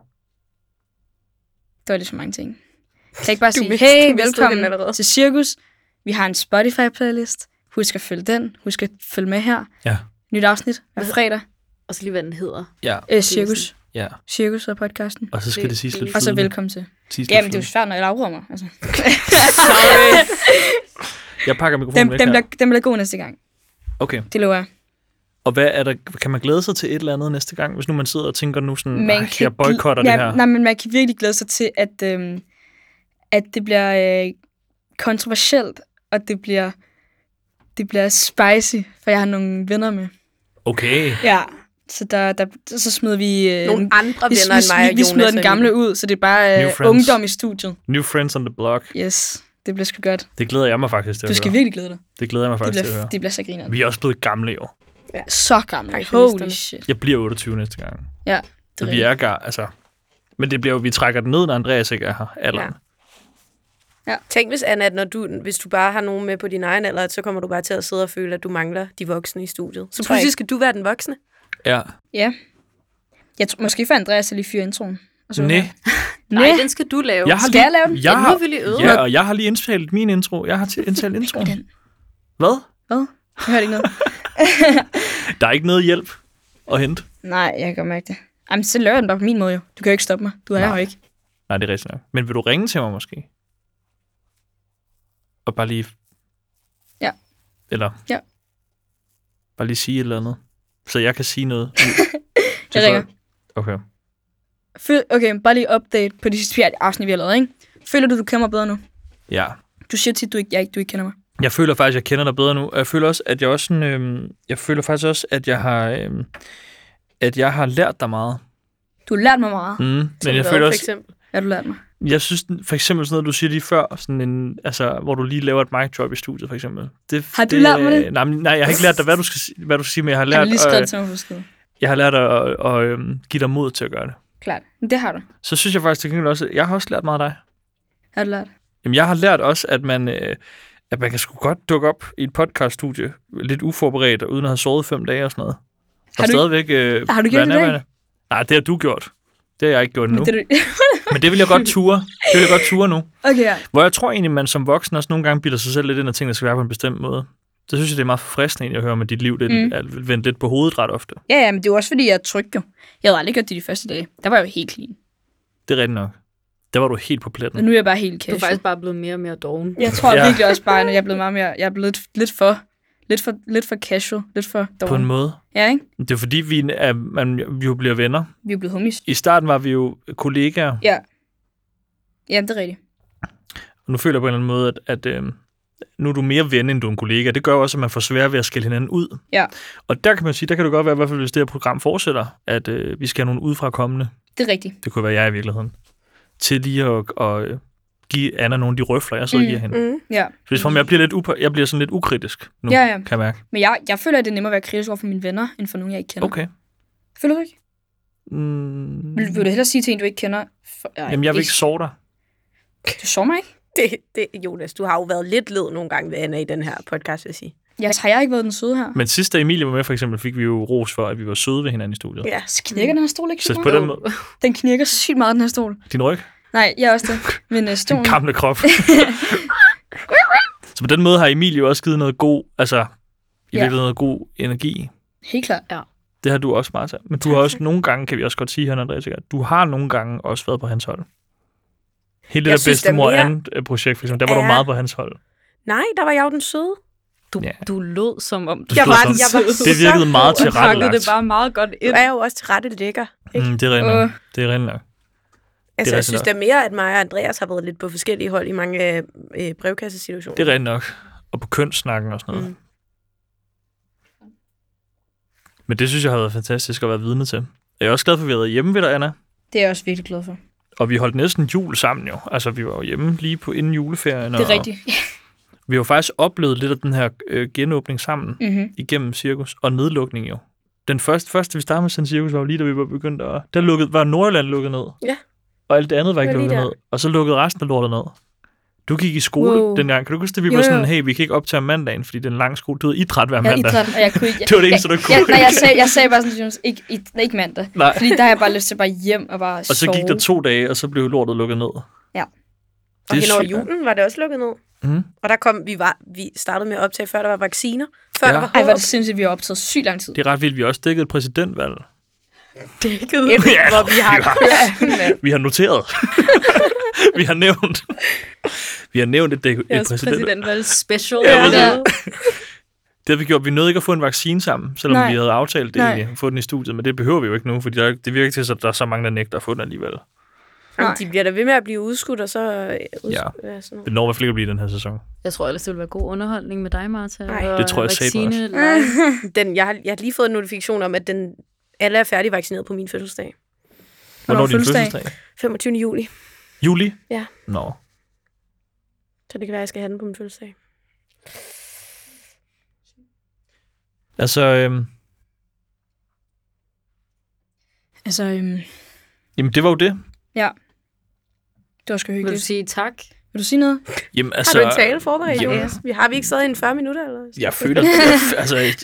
Det var lidt for mange ting. Kan jeg ikke bare
Du
sige,
mistede- du
hey,
mistede den allerede."
velkommen til Cirkus. Vi har en Spotify-playlist. Husk at følge den. Husk at følge med her.
Ja.
Nyt afsnit hver fredag.
Og så lige, hvad den hedder.
Ja.
Øh, cirkus.
Ja,
Cirkus og podcasten.
og så skal det,
Det-
det siges
det-
lidt
Og så
flydende.
velkommen til.
Siges lidt
Jamen, det er jo
flydende.
svært, når jeg afbryder mig. Altså. [LAUGHS]
Jeg pakker mikrofonen
Dem,
væk
dem,
her.
der, dem bliver god næste gang.
Okay,
Det lover
Mm,
jeg.
og hvad er der, kan man glæde sig til et eller andet næste gang, hvis nu man sidder og tænker nu sådan,
Man
"Ej,
kan
jeg boykotter
gl-
det
nej,
her.
Nej, men man kan virkelig glæde sig til, at, øhm, at det bliver øh, kontroversielt, og det bliver, det bliver spicy, for jeg har nogle venner med.
Okay,
Ja. Så, der, der, så smider vi... Øh,
Nogle andre
vi,
venner
vi,
end mig og
vi, vi
Jonas.
smider
og
den
Emil.
gamle ud, så det er bare
New
øh,
friends.
ungdom i studiet.
new friends on the block.
Yes, det bliver sgu godt.
Det glæder jeg mig faktisk til
Du
at
skal
høre.
virkelig glæde dig.
Det glæder jeg mig
Det
faktisk til at
bliver,
høre.
det bliver så griner.
Vi er også blevet gamle i år.
Så gammel. Holy
Pensionisterne.
shit.
Jeg bliver 28 næste gang.
Ja,
Så
det
vi er gar, altså... Men det bliver jo, vi trækker den ned, når Andreas ikke er her. Alderen. Ja.
Tænk hvis, Anna, at når du, hvis du bare har nogen med på din egen alder, at så kommer du bare til at sidde og føle, at du mangler de voksne i studiet. Så
Tror jeg
pludselig
ikke.
skal du være den voksne.
Ja.
Ja. Jeg tror, måske for Andreas at lige fyre introen. Og så-
Næ.
Nej, den skal du lave.
Jeg har
Skal
lige,
jeg lave den?
Jeg
Ja, nu
har,
er vi lige øvet.
ja, og jeg har lige indtalt min intro. Jeg har til-
[LAUGHS]
indtalt introen. Hvad?
Jeg hørte ikke noget.
Der er ikke noget hjælp at hente.
Nej, jeg kan godt mærke det. Jamen, så laver jeg den bare på min måde jo. Du kan jo ikke stoppe mig. Du er
Nej.
her jo ikke.
Nej, det er rigtigt nok. Men vil du ringe til mig måske? Og bare lige...
Ja.
Eller?
Ja.
Bare lige sige et eller andet. Så jeg kan sige
[LAUGHS]
noget. Til
ringer.
folk. Okay.
Føl, okay, bare lige update på de sidste fire afsnit, vi har lavet, ikke? Føler du, du kender mig bedre nu?
Ja.
Du siger tit, du ikke, jeg ikke, du ikke kender mig.
Jeg føler faktisk, at jeg kender dig bedre nu. Og jeg føler også, at jeg også sådan, øhm, jeg føler faktisk også, at jeg har, øhm, at jeg har lært dig meget.
Du har lært mig meget.
Mm. Men jeg føler
Hvad, for
også,
eksempel?
Hvad har du lært mig?
jeg synes den- for eksempel sådan noget, du siger lige før, sådan en, altså, hvor du lige laver et mic drop i studiet, for eksempel. Det,
Har du lært mig det?
Nej, men- nej, jeg har ikke lært dig, hvad du skal, sige- hvad du skal sige, men jeg har
Lært,
lært,
han har lige skrevet øh... til mig på skid.
jeg har lært at, at, at, øhm, give dig mod til at gøre det.
Klart. Men det har du.
Så synes jeg faktisk til gengæld også, at jeg har også lært meget af dig.
Har du lært?
Jamen, jeg har lært også, at man, øh, at man kan sgu godt dukke op i et podcaststudie, lidt uforberedt, og uden at have sovet fem dage og sådan noget. Og
Har du-
stadigvæk øh, være
Har du gjort det i dag?
nærværende. Nej, det har du gjort. Det har jeg ikke gjort nu.
Det, [LAUGHS] er du...
Men det vil jeg godt ture. Det vil jeg godt ture nu.
okay, ja.
Hvor jeg tror egentlig, man som voksen også nogle gange bilder sig selv lidt ind og ting, der skal være på en bestemt måde. Det synes jeg, det er meget forfriskende egentlig, at høre om, at dit liv det mm. er vendt lidt på hovedet ret ofte.
Ja, ja, men det er jo også, fordi jeg er tryg jo. Jeg havde aldrig gjort det de første dage. Der var jeg jo helt clean.
Mm. Det er rigtigt nok. Der var du helt på
Og
pletten.
nu er jeg bare helt
Du er
casual.
faktisk bare blevet mere og mere doven.
Jeg tror
Ja.
ja. virkelig også bare, at jeg er blevet meget mere... Jeg er blevet lidt for... Lidt for, lidt for casual, lidt for
På en
dårlig.
måde.
Ja, ikke?
Det er fordi, vi er, man, vi jo bliver venner.
Vi er blevet homies.
I starten var vi jo kollegaer,
Ja. Ja, det er rigtigt.
og nu føler jeg på en eller anden måde, at, at øh, nu er du mere ven, end du er en kollega. Det gør jo også, at man får svært ved at skille hinanden ud.
Ja.
Og der kan man sige, der kan det godt være, i hvert fald hvis det her program fortsætter, at øh, vi skal have nogle udefrakommende,
Det er rigtigt.
det kunne være jeg i virkeligheden, til lige at, at øh, give Anna nogle af de røfler, jeg sidder og
Mm,
giver hende.
Mm. [LAUGHS]
Ja.
Hvis for mig, jeg bliver, lidt upa- jeg bliver sådan lidt ukritisk nu,
Ja, ja.
kan jeg mærke.
Men jeg, jeg føler, at det er nemmere at være kritisk over for mine venner, end for nogen, jeg ikke kender.
Okay.
Føler du ikke?
Mm.
Vil, vil du hellere sige til en, du ikke kender? For, ej,
Jamen, jeg vil ikke sove dig.
Du sover mig ikke?
Det, det, Jonas, du har jo været lidt led nogle gange ved Anna i den her podcast, vil jeg sige.
Jeg, har jeg ikke været den søde her?
Men sidst, da Emilie var med, for eksempel, fik vi jo ros for, at vi var søde ved hinanden i studiet.
Ja.
Så knirker den her stol ikke
Så
så
på
meget?
den måde,
Den knirker sygt meget, den her stol.
din ryg,
Nej, jeg er
[LAUGHS]
også det. Men øh,
din
Mm.
stolen...
gamle
[LAUGHS]
krop. så på den måde har Emilie jo også givet noget god, altså i
Ja.
virkeligheden noget god energi.
Helt klart.
Det har du også, Martha. Men du har også nogle gange, kan vi også godt sige her, Andreas, sikkert, du har nogle gange også været på hans hold. Hele det
Jeg
der
synes, der er
bedstemor
mere-
andet øh, projekt, for eksempel, der var du
Ja.
meget på hans hold.
Nej, der var jeg jo den søde.
Du,
Ja.
du lød som om... Du
Jeg
Jeg
stod
var,
sådan-
jeg var
Det virkede meget
til
du pakkede
tilrettelagt.
det bare meget godt
Du
ind.
er jo også til rette lækker. Ikke?
Mm, det er rent
Åh.
nok. Det er rent nok.
Altså, jeg
rigtigt
synes
nok.
da mere, at mig og Andreas har været lidt på forskellige hold i mange øh, øh, brevkassesituationer.
Det er rent nok. Og på kønssnakken og sådan noget. Mm.
Mm.
Men det synes jeg har været fantastisk at være vidne til. Jeg er også glad for, at vi har været hjemme ved dig, Anna.
Det er jeg også virkelig glad for.
Og vi holdt næsten jul sammen jo. Altså, vi var jo hjemme lige på inden juleferien.
Det er
og
rigtigt.
Vi har jo faktisk oplevet lidt af den her øh, genåbning sammen
Mm-hmm.
igennem cirkus og nedlukning jo. Den første, første vi startede med sådan cirkus, var jo lige da vi var begyndt at... Der lukkede, var Nordjylland lukket ned.
Ja.
Og alt det andet var ikke
Det var lige
lukket ned. Og så lukkede resten af lortet ned. Du gik i skole
Wow.
dengang. Kan du huske, at vi
Jo,
var
jo.
sådan, hey, vi kan ikke optage om mandagen, fordi den lange skole, du havde idræt hver
Jeg er
mandag.
idræt, og jeg kunne ikke...
[LAUGHS] Det var det eneste, du
jeg-
kunne.
Jeg, nej, jeg sagde, jeg sagde bare sådan, til Jonas, ikke, ikke, ikke mandag.
Nej.
Fordi der har jeg bare lyst til bare hjem og bare
Og så
sove.
gik der to dage, og så blev lortet lukket ned.
Ja.
og
Det
hen over
er sygt.
julen var det også lukket ned.
Mm.
Og der kom, vi, var, vi startede med at optage, før der var vacciner. Før
Ja.
ja. der var
Ej,
håb.
hvor er det sindssygt, vi har optaget sygt lang tid.
Det er ret vildt. Vi har også dækket et præsidentvalg.
dækket, hvor vi
[LAUGHS]
har kørt.
Vi har noteret. [LAUGHS] vi har nævnt. vi har nævnt et, dæk, et
Jeres
præsidentvalg.
præsidentvalg special.
Ja,
Ja,
præcis. Det har vi gjort. Vi nåede ikke at få en vaccine sammen, selvom Nej.
Nej.
vi havde aftalt det
Nej.
egentlig, at få den i studiet, men det behøver vi jo ikke nu, fordi der, er ikke- det virker ikke til, at der er så mange, der nægter at få den alligevel.
Jamen, de bliver da ved med at blive udskudt, og så... øh, Uds-
Ja.
ja. sådan noget.
Det når i hvert fald ikke at blive i den her sæson.
Jeg tror ellers, det ville være god underholdning med dig, Martha.
Nej.
og
Det tror jeg satme også.
vaccine- live.
Den, jeg, har, jeg har lige fået en notifikation om, at den, alle er færdigvaccineret på min fødselsdag.
Hvornår er din
fødselsdag?
fødselsdag?
25. juli.
Juli?
Ja.
Nå.
Så det kan være, at jeg skal have den på min fødselsdag.
Altså, øhm,
Altså, øhm,
jamen det var jo det.
det var sgu
Vil du
hyggeligt.
sige tak?
Vil du sige noget?
Jamen,
Har
altså,
du en tale forberedt,
Jamen.
Jonas? Vi har vi ikke siddet i en 40 minutter? Eller?
jeg føler, jeg, altså, jeg,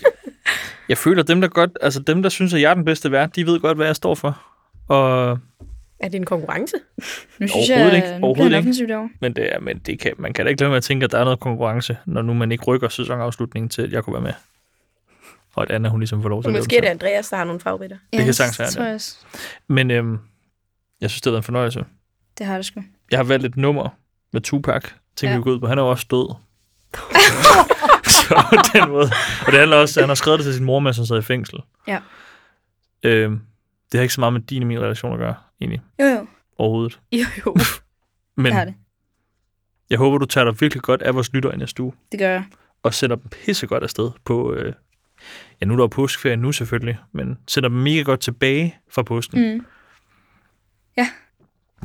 jeg føler dem, der godt, altså dem, der synes, at jeg er den bedste vært, de ved godt, hvad jeg står for. Og,
Er det en konkurrence?
Nu synes jeg, øh,
Overhovedet ikke.
nu bliver
Overhovedet
han
ikke.
offensiv derovre.
men det er, men det kan, man kan da ikke lade være med at tænke, at der er noget konkurrence, når nu man ikke rykker sæsonafslutningen til, at jeg kunne være med. Og at Anna, hun ligesom får lov til at lave
Måske
den
er
selv.
det Andreas, der har nogle favoritter.
Det kan sagtens være,
det.
ja.
Tror jeg også.
Men øhm, jeg synes, det har været en fornøjelse.
Det har det sgu.
Jeg har valgt et nummer med Tupac. Tænkte ja.
Ja.
vi gå ud på. Han er jo også død. [LAUGHS] så på den måde. Og det handler også, han har skrevet det til sin mor, mens han sad i fængsel.
Ja.
Øhm, det har ikke så meget med din og min relation at gøre, egentlig.
Jo, jo.
Overhovedet.
Jo, jo.
Men
Det har det.
jeg håber, du tager dig virkelig godt af vores lytter i næste uge.
Det gør jeg.
Og sender dem pissegodt afsted på... Øh, ja, nu er der jo påskeferie nu selvfølgelig, men sender dem mega godt tilbage fra påsken.
Mm.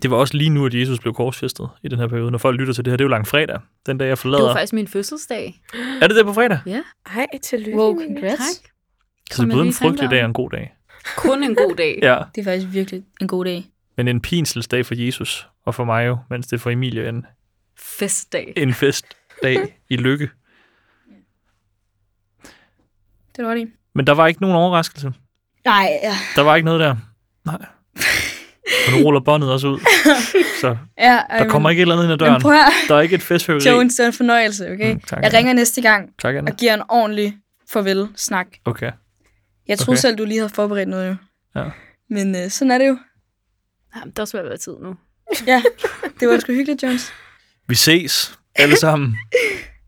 Det var også lige nu, at Jesus blev korsfæstet i den her periode. Når folk lytter til det her, det er jo langfredag. Den dag, jeg
Det var
forlader.
faktisk min fødselsdag.
Er det der på fredag?
Ej, tillykke.
Wow,
Emilie.
congrats.
Tak.
Så det
Kom
er både
lige
en
i tanker
frygtelig
om.
dag og en god dag.
Kun en god dag.
Ja.
Det er faktisk virkelig en god dag.
Men en pinselsdag for Jesus, og for mig jo, mens det for Emilie en,
Festdag.
en festdag i lykke.
Det er du ret i.
Men der var ikke nogen overraskelse.
Nej, ja.
Der var ikke noget der. Nej. Men nu ruller båndet også ud. Så
Ja, ej,
der kommer ikke et eller andet ind ad døren.
Men [LAUGHS] prøv at høre,
Der er ikke et festføveri.
[LAUGHS] Jones, det er en fornøjelse, okay?
Mm, tak,
jeg
Anna.
ringer næste gang
Tak, Anna.
og giver en ordentlig farvel-snak.
Okay.
Jeg troede
Okay.
selv, du lige havde forberedt noget jo.
Ja.
Men øh, sådan er det jo.
Jamen, det er også ved at være tid nu.
Ja, det var sgu hyggeligt, [LAUGHS] Jones.
Vi ses alle sammen.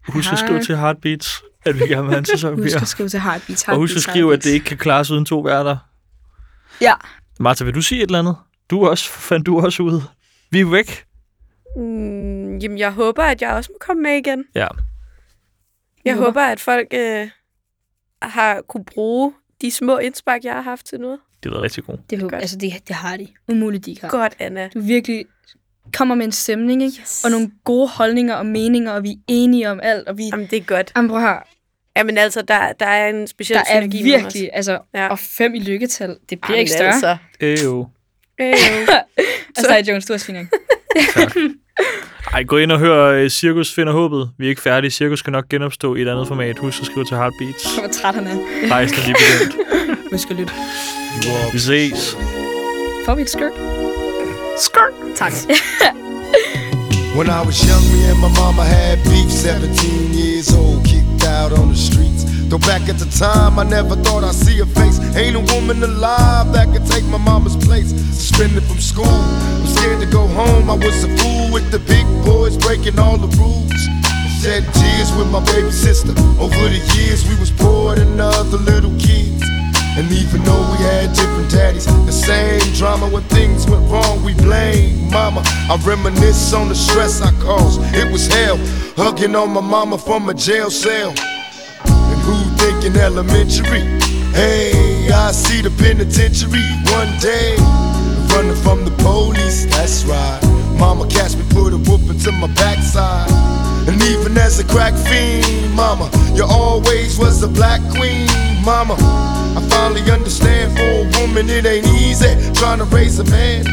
Husk at skrive
Hej.
til Heartbeats, at vi gerne vil have en sæson
Husk
mere.
at skrive til Heartbeat.
Og husk at skrive, at det ikke kan klares uden to værter.
Ja.
Martha, vil du sige et eller andet? Du er også, fandt du også ud. Vi er væk.
Mm, jamen, jeg håber, at jeg også må komme med igen.
Ja.
Jeg
håber.
håber, at folk øh, har kunne bruge de små indspark, jeg har haft til noget.
Det var rigtig godt.
Det, håber,
Godt.
altså, det, det har de. Umuligt, de ikke har.
Godt, Anna.
Du virkelig kommer med en stemning, ikke? Yes. Og nogle gode holdninger og meninger, og vi er enige om alt, og vi...
Jamen, det er godt.
Jamen, prøv her.
Jamen, altså, der, der er en speciel
Der er
synergi mellem os.
virkelig, altså,
Ja.
og fem i lykketal, det bliver
Jamen,
ikke større. Altså,
Altså.
Øv.
Øh, jo.
altså nej, Jones, du har svinget.
Ej, gå ind og hør øh, Cirkus finder håbet. Vi er ikke færdige. Cirkus kan nok genopstå i et andet format. Husk at skrive til Heartbeats.
Hvor træt han er.
Rejsen er lige begyndt.
Vi skal lytte.
Vi ses.
Får vi et skørt? Skørt! Tak.
When I was young, me and my mama had beef. 17 years old, kicked out on the streets. Though back at the time, I never thought I'd see a face. Ain't a woman alive that could take my mama's place. Suspended from school, I'm scared to go home. I was a fool with the big boys, breaking all the rules. Shed tears with my baby sister. Over the years, we was poor than other little kids. And even though we had different daddies, the same drama when things went wrong, we blame mama. I reminisce on the stress I caused. It was hell, hugging on my mama from a jail cell. And who thinking elementary? Hey, I see the penitentiary one day. Running from the police, that's right. Mama catch me, put a whooping to my backside. And even as a crack fiend, mama, you always was a black queen, mama. I finally understand for a woman it ain't easy trying to raise a man.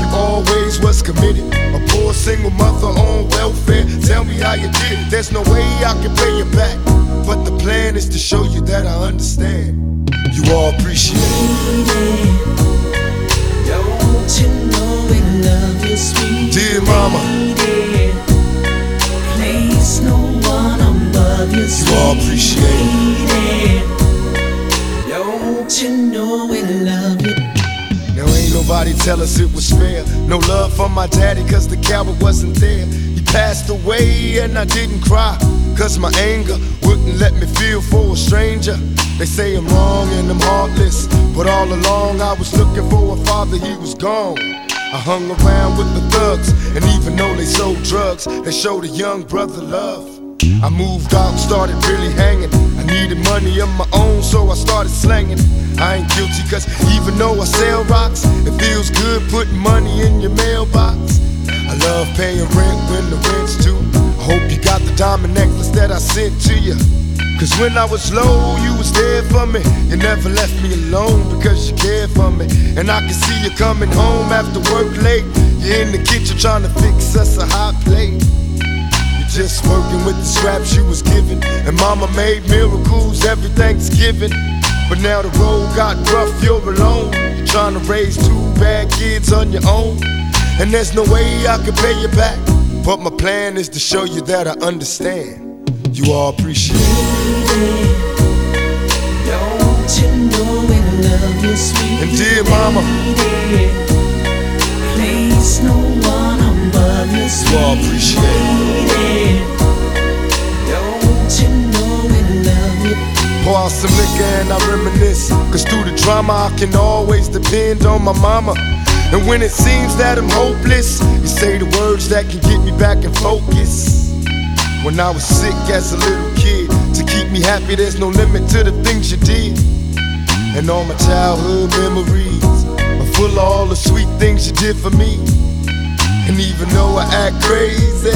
You always was committed. A poor single mother on welfare. Tell me how you did it. There's no way I can pay you back. But the plan is to show you that I understand. You all appreciate it.
Don't you know we love you, sweet
Dear mama,
lady? Place no one above you,
you all
sweet
appreciate it.
lady. Don't you know we love you?
Now ain't nobody tell us it was fair. No love for my daddy, cause the coward wasn't there. He passed away and I didn't cry. Cause my anger wouldn't let me feel for a stranger. They say I'm wrong and I'm heartless. But all along I was looking for a father, he was gone. I hung around with the thugs, and even though they sold drugs, they showed a young brother love. I moved out, started really hanging. I needed money of my own, so I started slanging. I ain't guilty, cause even though I sell rocks, it feels good putting money in your mailbox. I love paying rent when the rent's due. I hope you got the diamond necklace that I sent to you. Cause when I was low, you was there for me. You never left me alone because you cared for me. And I can see you coming home after work late. You're in the kitchen trying to fix us a hot plate. You're just working with the scraps you was given. And mama made miracles every Thanksgiving. But now the road got rough, you're alone. You're trying to raise two bad kids on your own. And there's no way I can pay you back. But my plan is to show you that I understand. You all appreciate it.
Don't you know we love you, sweet
And dear mama,
lady? Place no one above you,
you all
sweet
appreciate it.
lady. Don't you know we love you?
Pour out some liquor and I reminisce. Cause through the drama, I can always depend on my mama. And when it seems that I'm hopeless, you say the words that can get me back in focus. When I was sick as a little kid, to keep me happy, there's no limit to the things you did. And all my childhood memories are full of all the sweet things you did for me. And even though I act crazy,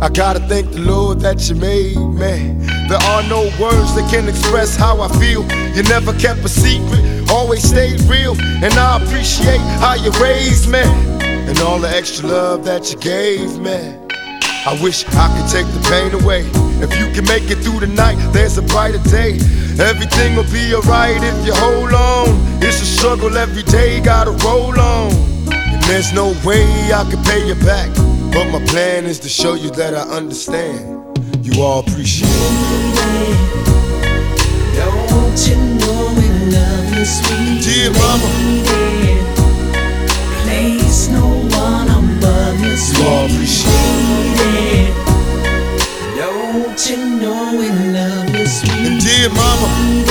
I gotta thank the Lord that you made me. There are no words that can express how I feel. You never kept a secret, always stayed real. And I appreciate how you raised me. And all the extra love that you gave me. I wish I could take the pain away. If you can make it through the night, there's a brighter day. Everything will be alright if you hold on. It's a struggle every day, gotta roll on. And there's no way I could pay you back. But my plan is to show you that I understand. You all appreciate it.
Don't you know we love you, sweet
Dear mama.
lady? Place no one above you,
You all
sweet
appreciate it.
lady. Don't you know we love you, sweet
And dear mama,